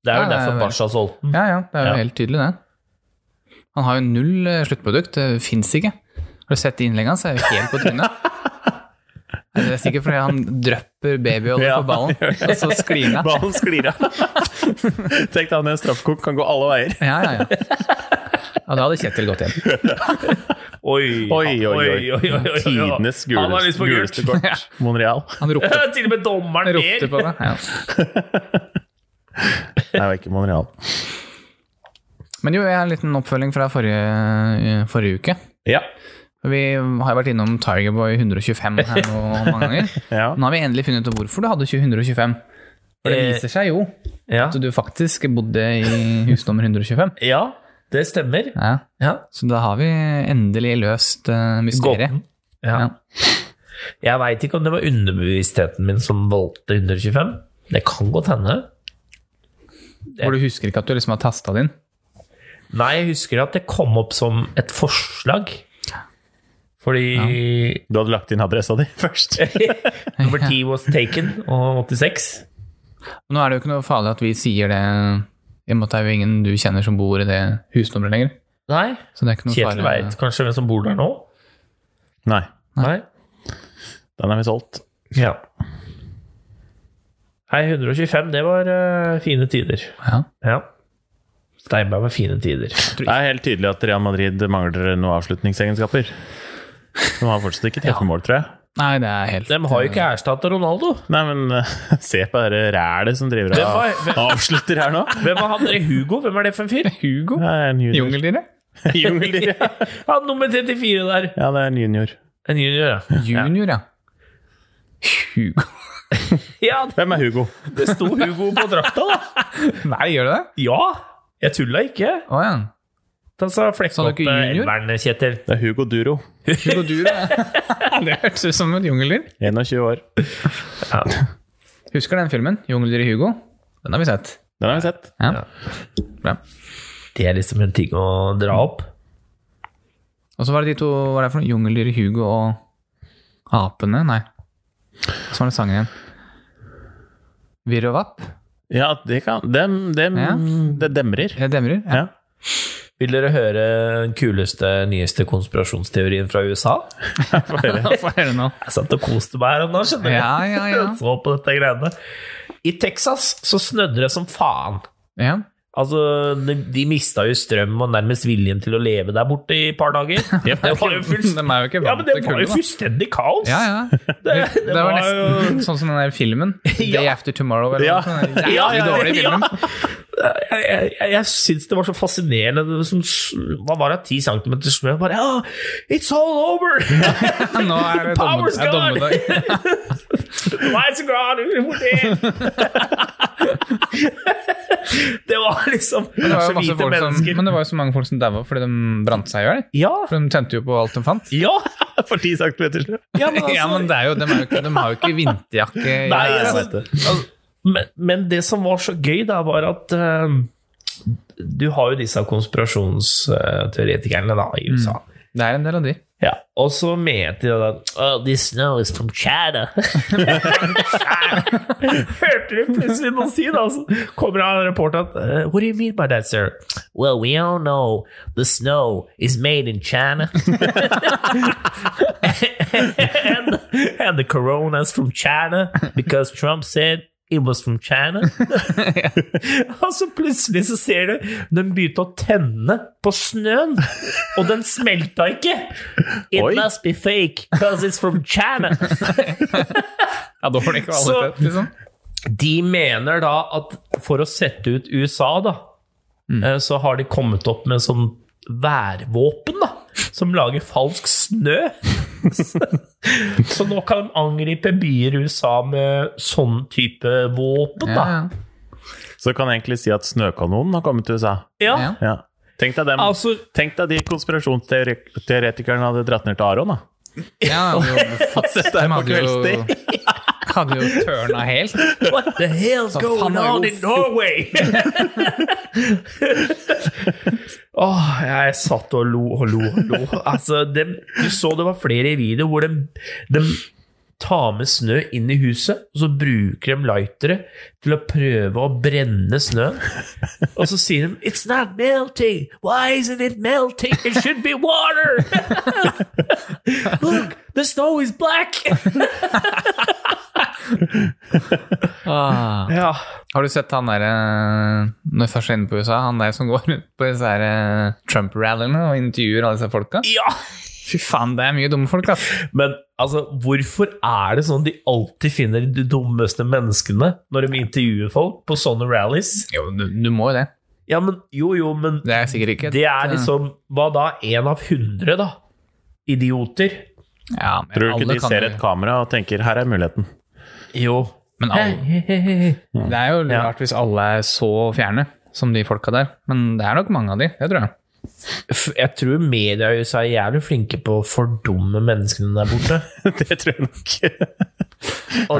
Det er jo Ja, det er derfor veldig- Barca solgte Mm. den. Ja, ja, det er jo Ja. helt tydelig, det. Han har jo null eh, sluttprodukt. Det fins ikke. Har du sett innlegget hans? Det er jo helt på (laughs) trynet. Det er sikkert fordi han drøpper babyolje (laughs) Ja, på ballen, og så sklir han av. Ballen sklir av. (laughs) Tenk deg han i en straffekonk kan gå alle veier. Ja, ja, ja. Ja, da hadde Kjetil gått hjem. Oi, Oi, oi, oi. Tidenes Han har lyst guleste, på gult. guleste kort. Monreal. Han ropte, (laughs) Til og med dommeren ropte ler. på det. Ja. Nei, det var ikke Monreal. Men jo, jeg har en liten oppfølging fra forrige, eh, forrige uke. Ja. Vi har jo vært innom Tigerboy 125 her nå mange ganger. ja. Nå har vi endelig funnet ut hvorfor du hadde 125. For det Eh, viser seg jo Ja. at du faktisk bodde i hus nummer 125. ja, det stemmer. Ja, Ja. så da har vi endelig løst eh, mysteriet. Gåten. Ja. Ja. Jeg veit ikke om det var underbevisstheten min som valgte 125. Det kan godt hende. For du husker ikke at du liksom har tasta det inn? Nei, jeg husker at det kom opp som et forslag. Fordi Du hadde lagt inn adressa di (laughs) først. (laughs) nummer 10 was taken, og 86. Nå er det jo ikke noe farlig at vi sier det, i og med at det er jo ingen du kjenner som bor i det husnummeret lenger. Nei, Så det er ikke noe Kjetil farlig. veit kanskje hvem som bor der nå? Nei, Nei. den er vi solgt. Ja. Nei, 125, det var eh, fine tider. Ja. Ja. Steinberg var fine tider. Det er helt tydelig at Real Madrid mangler noen avslutningsegenskaper. De har fortsatt ikke treffet mål, tror jeg. Nei, det er helt De har jo ikke erstatta Ronaldo. Nei, men eh, (laughs) se på det rælet som driver Hvem og avslutter her nå. Hvem var han der? Hugo? Hvem er det for en fyr? Hugo? Det er en junior. Jungeldyret? Jungel, ja. Han nummer 34 der. (laughs) ja, det er en junior. En junior, ja. Junior, ja. Hugo Ja, Hvem er Hugo? det sto Hugo på drakta, da. Nei, gjør det det? Ja! Jeg tulla ikke. Å ja. Da sa flekk Sa du opp ikke eh, junior? elveren, Kjetil. Det er Hugo Duro. Hugo Dura. Det hørtes ut som et jungeldyr. 21 år. Husker den filmen? 'Jungeldyret Hugo'? Den har vi sett. Den har vi sett. Ja. Bra. (laughs) Det er liksom en ting å dra opp. Og så var det de to Hva er det for noe? Jungeldyret Hugo og apene? Nei. Så var det sangen igjen. Virr og vapp? Ja, det kan dem, dem, Ja. Det demrer. Det demrer? (laughs) Ja. Ja. Vil dere høre den kuleste, nyeste konspirasjonsteorien fra (laughs) USA? Få høre nå. (laughs) Jeg satt og koste meg her om dagen, skjønner du. Ja, ja, ja. Jeg (laughs) Så på dette greiene. I Texas så snødde det som faen. ja. Altså, de, de mista jo strøm og nærmest viljen til å leve der borte i et par dager. (laughs) Det var jo De fullstendig, er jo ikke ja, vant men det til var jo kulda. fullstendig kaos! Ja, ja. Det, det, det var, var nesten sånn som den der (laughs) filmen. Day After Tomorrow. Eller Ja. noe sånt. Den Ja, Jævlig ja, dårlig (laughs) ja. filmen. Jeg, jeg, jeg syns det var så fascinerende. Det som, hva var det, ti centimeter snø? Bare ja, it's all over! (laughs) Nå er det domme- Power's er gone! dommedag. Lights are gone! Hvor er det? (laughs) Det var liksom Det var så jo masse lite folk som, mennesker. men det var jo så mange folk som daua fordi de brant seg i hjel. Ja, For de tente jo på alt de fant. ja, For ti centimeter snø. ja, men altså, (laughs) Ja, men det er jo, de, er jo ikke, de har jo ikke vinterjakke. Nei, Ja, jeg altså, vet det. altså, men, men det som var så gøy, da, var at eh, Du har jo disse konspirasjonsteoretikerne da, i USA. Det er en del av de. Ja, og så mente de at oh, This snow is from China. (laughs) Hørte du plutselig noen si det? Altså, kommer han reporteren at eh, What do you mean by that, sir? Well, we all know the snow is made in China. (laughs) and, and the corona is from China because Trump said It was from China. og så plutselig så ser du den begynte å tenne på snøen, og den smelta ikke. It Oi. must be fake, because it's from China. Ja, da får de ikke Så- valgt det, liksom. De mener da at for å sette ut USA, da, Mm. eh, så har de kommet opp med sånn værvåpen, da. Som lager falsk snø. (laughs) så nå kan de angripe byer i USA med sånn type våpen, Ja, da. ja. Så kan jeg egentlig si at snøkanonen har kommet til USA. Ja, Ja. Ja. Tenk deg dem. altså Tenk deg de konspirasjonsteoretikerne hadde dratt ned til Aron, da. ja jo, Og sett deg på hadde jo, (laughs) kveldstid. hadde jo tørna helt. What the hell's faen going er det on god in Norway? (laughs) Åh, jeg satt og lo og lo og lo. Altså, dem, du så det var flere i video hvor de, tar med snø inn i huset, og så bruker de lightere til å prøve å brenne snøen. Og så sier de 'It's not melting! Why isn't it melting? It should be water!' (laughs) Look, the snow is black! Ah. Ja, Har du sett han derre Når vi først er inne på USA, han der som går rundt på disse her, eh, Trump-rallyene og intervjuer alle disse folka? ja. Fy faen, det er mye dumme folk, ass. Men altså, hvorfor er det sånn de alltid finner de dummeste menneskene når de intervjuer folk på sånne rallies? Jo, du, du må jo det. Ja, men jo, jo, men Det er sikkert ikke et, det er eh, liksom Hva da? Én av hundre, da? Idioter? ja, men Tror du alle ikke de kan ser jo- et kamera og tenker 'her er muligheten'? (laughs) Jo. Men alle, det er jo rart hvis alle er så fjerne som de folka der. Men det er nok mange av de, det tror jeg. F- Jeg tror media i USA er jævlig flinke på å fordumme menneskene der borte. (laughs) det tror jeg nok. (laughs) Og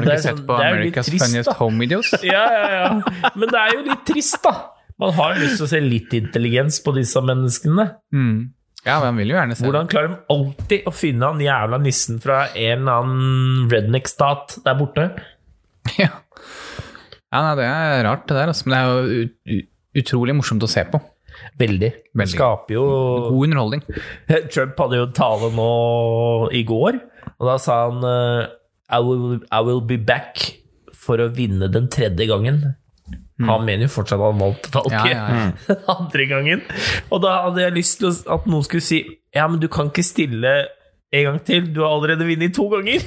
Har du det er ikke sett sånn- på det er jo litt America's trist, Funniest da. Home Videos? Ja, ja, ja. Men det er jo litt trist, da. Man har jo lyst til å se litt intelligens på disse menneskene. Mm. Ja, men han vil jo gjerne se Hvordan klarer de alltid å finne han jævla nissen fra en eller annen redneck-stat der borte? det. (laughs) Ja. ja, nei, det er rart det der, altså. Men det er jo ut, ut- utrolig morsomt å se på. Veldig. Veldig. Det skaper jo (laughs) God underholdning. Trump hadde jo en tale nå i går, og da sa han eh, I will, I will be back for å vinne den tredje gangen. Han mener jo fortsatt at han vant valget Mm. Ja, ja, ja. (laughs) den andre gangen. Og da hadde jeg lyst til å- at noen skulle si Ja, men du kan ikke stille en gang til, du har allerede vunnet to ganger.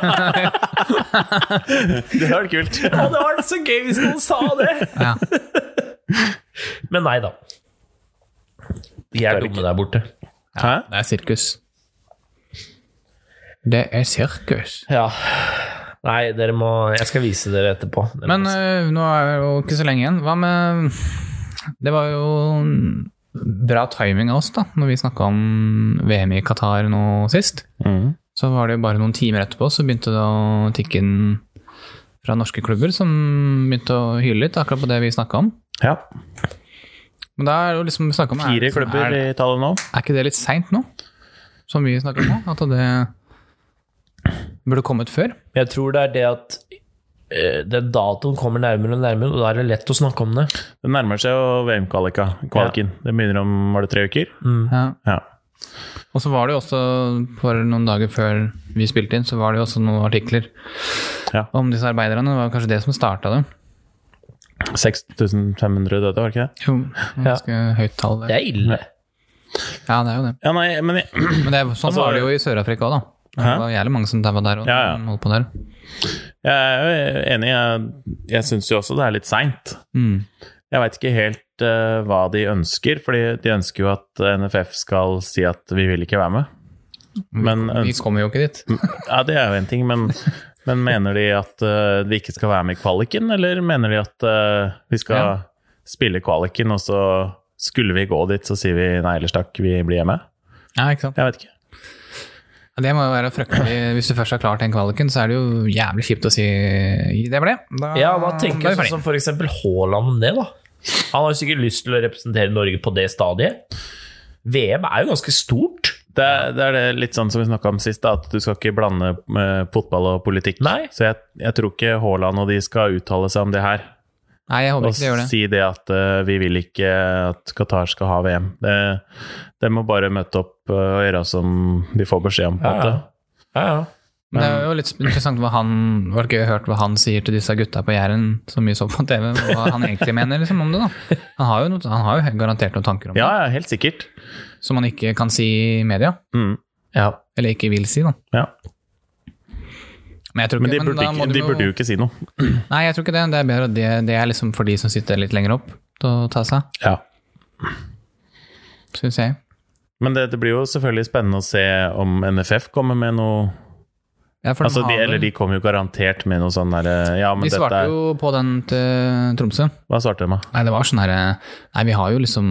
(laughs) Det hadde vært kult. Ja, det var så gøy hvis noen sa det! Ja. Men nei da. De er Det er dumme der borte. Hæ? Det er sirkus. Det er sirkus. Ja. Nei, dere må Jeg skal vise dere etterpå. Dere Men må se. øh, nå er det jo ikke så lenge igjen. Hva med Det var jo bra timing av oss, da, når vi snakka om VM i Qatar nå sist. Mhm. Så var det jo bare noen timer etterpå, så begynte det å tikke inn fra norske klubber som begynte å hyle litt, akkurat på det vi snakka om. Ja. Men da er det jo liksom vi snakket om, er, Fire det liksom, klubber er, i tallet nå. er ikke det litt seint nå, som vi snakker om nå? At det burde kommet før? Jeg tror det er det at eh, den datoen kommer nærmere og nærmere, og da er det lett å snakke om det. Det nærmer seg jo VM-kvalika. Kvaliken. Det begynner om var det tre uker? Ja. Ja. Og så var det jo også, for noen dager før vi spilte inn, så var det jo også noen artikler Ja. om disse arbeiderne. Det var kanskje det som starta det. 6500 døde, var det ikke det? Jo, det var ganske høyt tall. Det Det. er ille. Ja, det er jo det. Ja, nei, men jeg, (clears throat) Men det, er- sånn Altså- var det jo i Sør-Afrika òg, da. Det Hæ? var jævlig mange som daua der og Ja, ja. som holdt på der. jeg er jo enig. Jeg, jeg syns jo også det er litt seint. Mm. Jeg veit ikke helt eh, hva de ønsker, fordi de ønsker jo at NFF skal si at vi vil ikke være med. Men Vi ønsker, kommer jo ikke dit. ja, det er jo en ting, (laughs) men, men mener de at eh, vi ikke skal være med i kvaliken, eller mener de at eh, vi skal Ja. spille kvaliken, og så skulle vi gå dit, så sier vi nei ellers takk, vi blir hjemme? Ja, ikke sant? Jeg vet ikke. Ja, Det må jo være fryktelig. Hvis du først har klart den kvaliken, så er det jo jævlig kjipt å si det var det. Da, Ja, hva tenker da jeg er vi sånn som for eksempel Haaland om det, da? Han har jo sikkert lyst til å representere Norge på det stadiet. VM er jo ganske stort. Det er, det er det litt sånn som vi snakka om sist, da, at du skal ikke blande eh, fotball og politikk. Nei. Så jeg, jeg tror ikke Haaland og de skal uttale seg om det her. ferdig. Nei, jeg håper Og ikke de gjør det. si det at eh, vi vil ikke at Qatar skal ha VM. Det, de må bare møte opp eh, og gjøre som de får beskjed om. på en Ja, måte. ja. Ja, ja. Men det er jo litt interessant hva han Det var gøy å høre hva han sier til disse gutta på Jæren som vi så på TV, hva han egentlig mener liksom, om det. da. Han har, jo noe, han har jo garantert noen tanker om Ja, ja, helt sikkert. det, som han ikke kan si i media. Mm. ja. Eller ikke vil si, da. Ja. Men, jeg tror Men de ikke, men burde, da må ikke, du de jo- burde jo ikke si noe. Nei, jeg tror ikke det. Det er bedre at det, det er liksom for de som sitter litt lenger opp, til å ta seg, Ja. syns jeg. Men det, det blir jo selvfølgelig spennende å se om NFF kommer med noe Ja, for altså, de, har vel- Eller de kommer jo garantert med noe sånn derre Ja, men de dette svarte er jo på den til Tromsø. Hva svarte de, da? Nei, det var sånn herre Nei, vi har jo liksom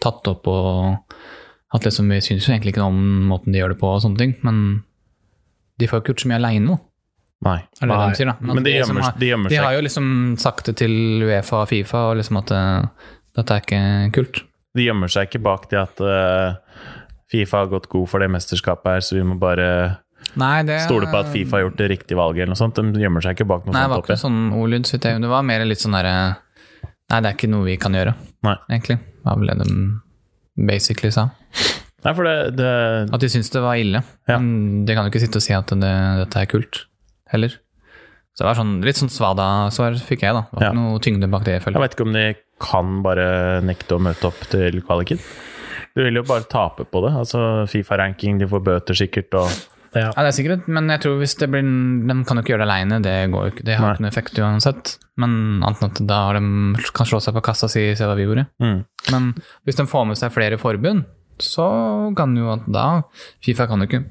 tatt opp og at liksom, Vi syns jo egentlig ikke noe om måten de gjør det på og sånne ting, men de får jo ikke gjort så mye aleine nå. Nei. Er det Nei, det de sier, da? at men de liksom gjemmer- har- de gjemmer De seg. har jo liksom sagt det til Uefa og Fifa og liksom at eh, dette er ikke kult. De gjemmer seg ikke bak det at eh, Fifa har gått god for det mesterskapet her, så vi må bare Nei, det stole på at Fifa har gjort det riktige valget. eller noe sånt. De gjemmer seg ikke bak noe Nei, det var sånt. ikke oppi. noe sånn ordlyd. så vidt jeg- Det var mer litt sånn derre Nei, det er ikke noe vi kan gjøre, Nei. egentlig. Det var vel det de basically sa. Nei, for det, det At de syntes det var ille. Ja. Men de kan jo ikke sitte og si at det, dette er kult, heller. Så det var sånn, litt sånn svada-svar fikk jeg, da. Det var Ja. ikke noe tyngde bak det, jeg Jeg føler. vet ikke om de kan bare nekte å møte opp til kvaliken. Du vil jo bare tape på det. Altså Fifa-ranking, de får bøter sikkert og Ja. Ja, det er sikkert, men jeg tror hvis det blir De kan jo ikke gjøre det aleine, det går jo ikke. Det har Nei. ikke noe effekt uansett. Men annet enn at da har de, kan slå seg på kassa og si 'se hva vi gjorde'. mm. Men hvis de får med seg flere forbund, så kan jo at da Fifa kan jo ikke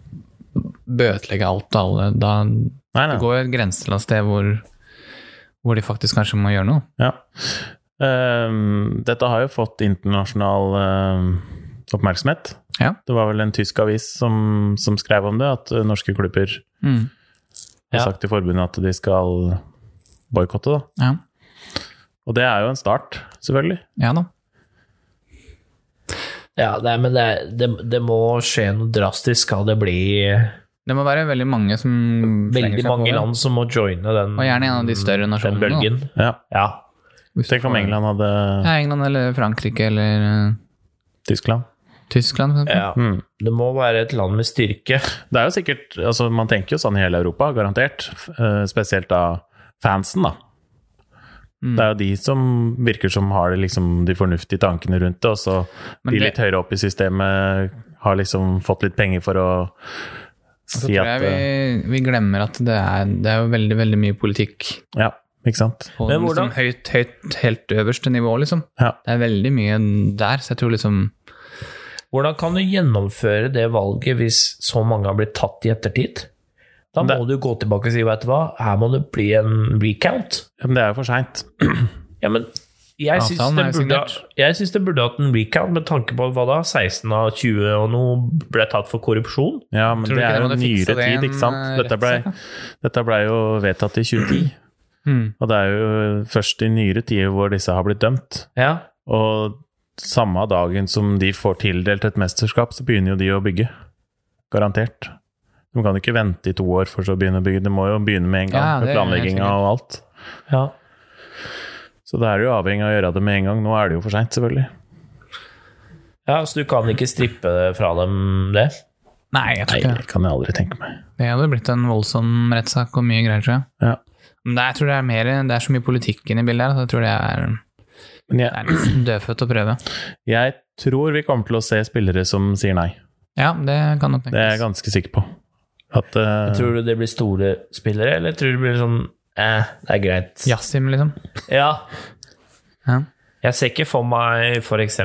bøtelegge alt og alle. Da det Nei, nei. går jo et grenseland sted hvor, hvor de faktisk kanskje må gjøre noe. Ja. Ehm, dette har jo fått internasjonal ehm, oppmerksomhet. Ja. Det var vel en tysk avis som, som skrev om det, at eh, norske klubber Mm. har Ja. sagt til forbundet at de skal boikotte, da. Ja. Og det er jo en start, selvfølgelig. ja da. Ja, nei, men det, det, det må skje noe drastisk, skal det bli Det må være veldig mange som slenger veldig seg på mange det. land som må joine den, Og gjerne en av de større den nasjonene. bølgen. Ja. Ja. da. Hvis du Tenk om får- England hadde Ja, England eller Frankrike eller eh, Tyskland. Tyskland, for eksempel. ja. Mm. Det må være et land med styrke. Det er jo sikkert, altså Man tenker jo sånn i hele Europa, garantert. F- eh, Spesielt av fansen, da. Mm. Det er jo de som virker som har det liksom de fornuftige tankene rundt det, og så Men de det- litt høyere opp i systemet har liksom fått litt penger for å Så si tror at jeg eh, eh, vi, vi glemmer at det er, det er jo veldig, veldig mye politikk eh, Ja, ikke sant. på Men liksom, hvordan- høyt, høyt, helt øverste nivå, liksom. Ja. Det er veldig mye der, så jeg tror liksom Hvordan kan du gjennomføre det valget hvis så mange har blitt tatt i ettertid? Da må du gå tilbake og si, vet du hva, her må det bli en recount. Men det er jo for seint. Ja, men jeg syns Avtalen det, er jo burde, signert. jeg syns det burde hatt en recount med tanke på hva da, 16 av 20 og noe ble tatt for korrupsjon. Ja, men Tror du det ikke de er jo hadde fiksa nyere det i tid, en, ikke sant. eh, Dette blei rettssak, da? dette ble jo vedtatt i 2010, Mm. og det er jo først i nyere tider hvor disse har blitt dømt. Ja. Og samme dagen som de får tildelt et mesterskap, så begynner jo de å bygge. Garantert. De kan ikke vente i to år for så å begynne å bygge. De må jo begynne med en gang, Ja, det med er helt planlegginga sikkert. og alt. ja. Så da er du jo avhengig av å gjøre det med en gang. Nå er det jo for seint, selvfølgelig. Ja, Så du kan ikke strippe fra dem det? Nei, jeg tror Nei, ikke det. det kan jeg aldri tenke meg. Det hadde blitt en voldsom rettssak og mye greier, tror jeg. Ja. Men det, jeg tror det er mer Det er så mye politikk inne i bildet her, så jeg tror det er, Men det jeg, er nesten dødfødt å prøve. jeg tror vi kommer til å se spillere som sier nei. Ja, det kan nok Det er jeg tenkes. ganske sikker på. At eh, Tror du det blir store spillere, eller tror du det blir sånn eh, det er greit? Yasim, liksom. Ja. Ja. Jeg ser ikke for meg f.eks.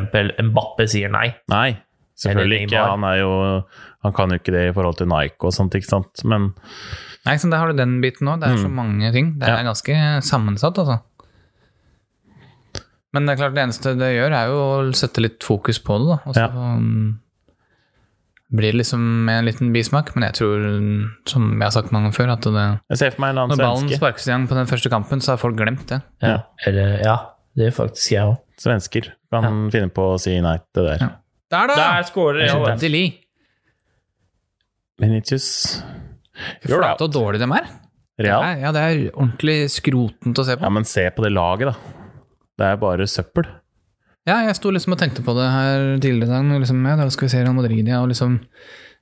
Mbappe sier nei. Nei, selvfølgelig Eller ikke. Neymar. Han, er jo, han kan jo ikke det i forhold til Nike og sånt, ikke sant. Men Nei, så Der har du den biten òg. Det er så mange ting. Det er Ja. ganske sammensatt, altså. Men det er klart, det eneste det gjør, er jo å sette litt fokus på det, da. Og så Ja. um, blir det liksom en liten bismak. Men jeg tror, som jeg har sagt mange ganger før, at det, jeg ser for meg en når annen ballen svenske. sparkes i gang på den første kampen, så har folk glemt det. Ja. Eller, ja, det er faktisk jeg òg. Svensker kan finne på å si nei til det der. Ja. Der, da! Der skårer jeg òg. Endelig! Vinicius Fy Jo da. flate hvor dårlig de er. Real? Nei, Ja, det er ordentlig skrotent å se Ja, på. men se på det laget, da. Det er bare søppel. Ja, jeg sto liksom og tenkte på det her tidligere i dag. men Liksom, ja, da skal vi se Real Madrid, ja, og liksom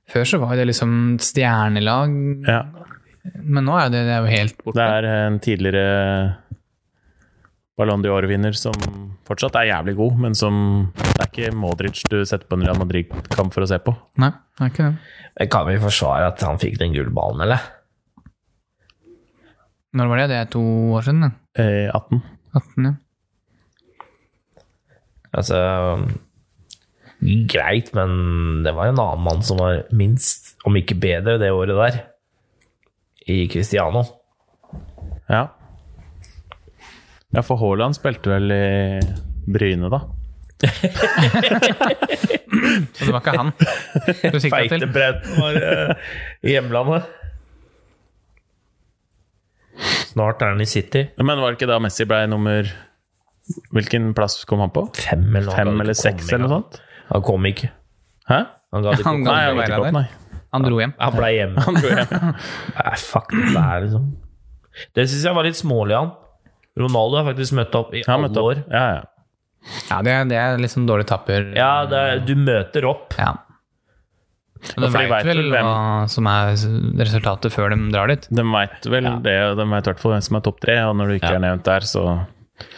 Før så var det liksom stjernelag, Ja. men nå er det, det er jo helt Det borte. er en tidligere Ballon d'Or-vinner som fortsatt er jævlig god, men som Det er ikke Modric du setter på en Real Madrid-kamp for å se på. Nei, det er ikke det. Kan vi forsvare at han fikk den gullballen, eller? Når var det? Det er to år siden, det. Eh, 18. 18, ja. Altså Mm. Greit, men det var en annen mann som var minst, om ikke bedre, det året der. I Cristiano. Ja. Ja, for Haaland spilte vel i Bryne, da. Så det var (laughs) ikke han du sikta til. Feitebredden var eh, i hjemlandet. Snart er han i City. Men var det ikke da Messi ble nummer Hvilken plass kom han på? Fem eller, noe, han Fem gadd ikke komme eller seks eller noe engang. sånt? Han kom ikke. Hæ? Han gadd ikke Han komme. Nei, gadd jeg ikke vet være ikke der. opp, nei. Han dro hjem. (laughs) Han ble hjemme. Han dro hjem. Nei, fuck det der, liksom. Det syns jeg var litt smålig av han. Ronaldo har faktisk møtt opp i Han alle møtte år. opp. Ja, ja. Ja, det, det er liksom dårlig tapper. Ja, det er, du møter opp. Ja. Men de Ja, for de veit vet vel vel hvem- hva som er resultatet før de drar dit. De veit vel det, og de veit i hvert fall hvem som er topp tre. Og når du ikke Ja. er nevnt der, så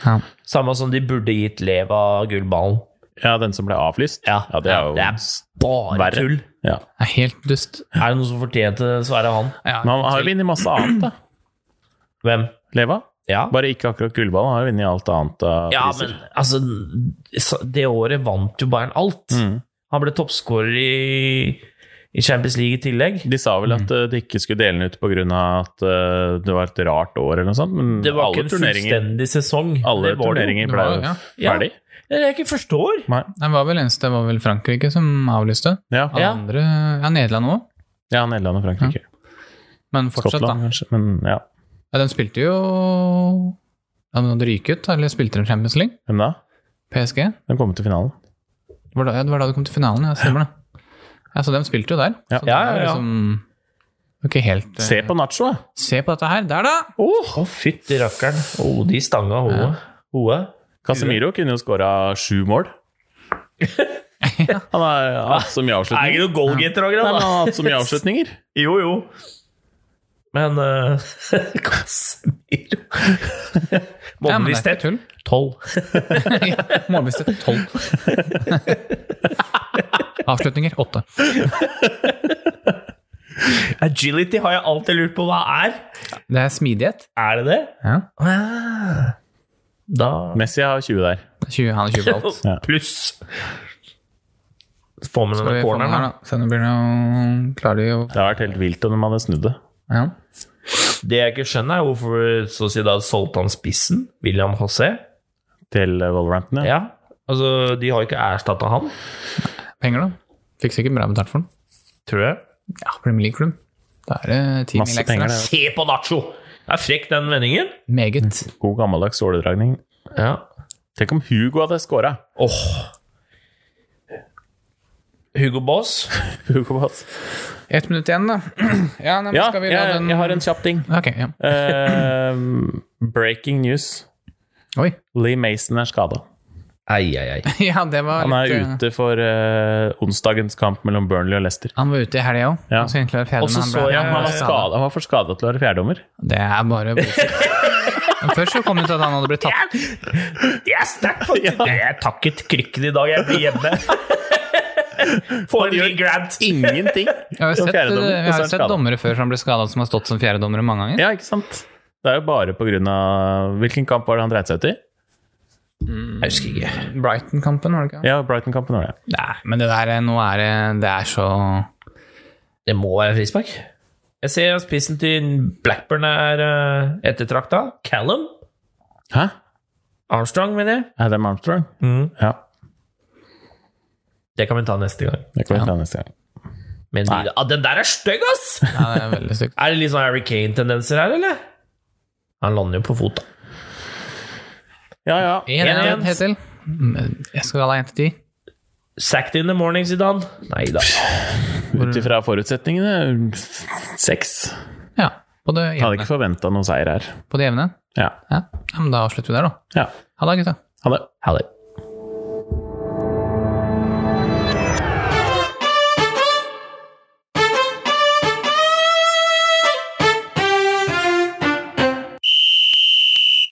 Ja. Samme som de burde gitt Leva gullballen. Ja, den som ble avlyst. ja det er jo det er bare verre. tull. Ja. Det er helt dust. Er det noen som fortjente det, så er det han. Ja, Men han har jo vunnet masse annet, da. Hvem? Leva. Ja. Bare ikke akkurat gullballen. Han har jo vunnet alt annet av Ja, men priser. altså så- Det året vant jo Bayern alt. Mm. Han ble toppskårer i, i Champions League i tillegg. De sa vel at eh, de ikke skulle dele den ut pga. at eh, det var et rart år, eller noe sånt. Men Det var alle ikke en turneringer, fullstendig sesong. alle det, var det jo. turneringer Det ble var- jo ja. ferdig. Det er ikke første år. Nei. Det var vel eneste, det var vel Frankrike som avlyste. Ja. Alle Ja. andre, ja, Nederland òg, ja, Nederland og Frankrike. men fortsatt, da. Skottland, kanskje. Men ja. Ja, de spilte jo ja, men Hadde ryket ut, eller spilte de Champions League? Hvem da? PSG? De kom til finalen. Det var da, ja, det var da du kom til finalen, ja, stemmer det. Ja, så de spilte jo der. Ja. så Ja, det er ja, ja. Liksom, ikke helt eh, Se på Nacho, da! se på dette her. Der, da! Å, fytti rakkeren. Oh, de stanga hodet. Hodet. Casemiro kunne jo skåra sju (laughs) mål. Han har hatt så mye Er avslutninger. ikke noen goalgetter og Nei, greier, men han da. har hatt så mye avslutninger. Jo, jo. Men uh, (laughs) Casemiro Ja, men det Målbevissthet er ikke tull. (laughs) tolv. Ja, Målbevissthet tolv. (laughs) Avslutninger åtte. (laughs) Agility har jeg alltid lurt på hva er. Det er smidighet. Er det det? Ja. Ah. Da Messi har 20 der. 20, han er 20 på (laughs) alt. Ja. Pluss Får med Skal denne vi få den corneren, her, da. da? Se, nå blir det jo Klarer de jo Det har vært helt vilt om de hadde snudd det. ja. Det jeg ikke skjønner, er hvorfor Sociedad solgte han spissen, William José. Til eh, Wolverhampton, ja. Ja. Altså, de har ikke erstatta han, Penger, da? Fikk sikkert bra betalt for den. tror jeg. Ja, Premier League-klubb. Da er det ti mil Masse penger, ekstra. det. Se på Nacho! Det er frekk, den vendingen. Meget. God gammeldags åledragning. Ja. Tenk om Hugo hadde skåra! Åh. Hugo Boss. Hugo Boss. Ett minutt igjen, da. (clears throat) Ja, nei, men Ja, skal vi jeg, la den jeg har en kjapp ting. Ok, ja. Eh, breaking news. Oi. (laughs) Lee Mason er skada. Ei, ei, ei. Ja, det var Han er litt, eh, ute for eh, onsdagens kamp mellom Burnley og Leicester. Han var ute i helga òg. Ja. Og så egentlig var det fjerde, Og så men han ble- så jeg han Han ble var, skadet. skadet, han var for skada til å være fjerdedommer. Det er bare (laughs) bullshit. Men Først så kom det ut at han hadde blitt tatt Jeg er sterkt for Jeg takket krykken i dag. Jeg blir hjemme. Får en liten grant. Ingenting! Jeg har jo Som sett, eh, fjerdedommer, jeg har og så er jo han sett skadet. dommere før som ble skada, som har stått som fjerdedommere mange ganger. Ja, ikke sant? Det er jo bare på grunn av Hvilken kamp var det han dreit seg ut i? Jeg husker ikke. Brighton-kampen, var det ikke? Ja, Brighton-kampen var det. Nei, men det der eh, nå er det Det er så Det må være frispark. Jeg ser spissen til Blackburn er uh, ettertrakta. Callum. Hæ? Armstrong, mener jeg. Adam Armstrong? Ja. Det kan vi ta neste gang. Det kan vi ta neste gang. Men de, ah, den der er stygg, ass! Ja, det er veldig (laughs) stygt. Er det litt sånn Harry Kane-tendenser her, eller? Han lander jo på fot, da. Ja, ja. 1-1 1-1. helt til. Mm, Jeg skal ha 1 til 10. Sacked in the morning, Zidane. Nei da. Ut ifra forutsetningene seks. Ja. På det Hadde jevne. ikke forventa noen seier her. På det jevne. Ja. Ja. ja, men da avslutter vi der, da. ja. Ha det, gutta. Ha det. Ha det.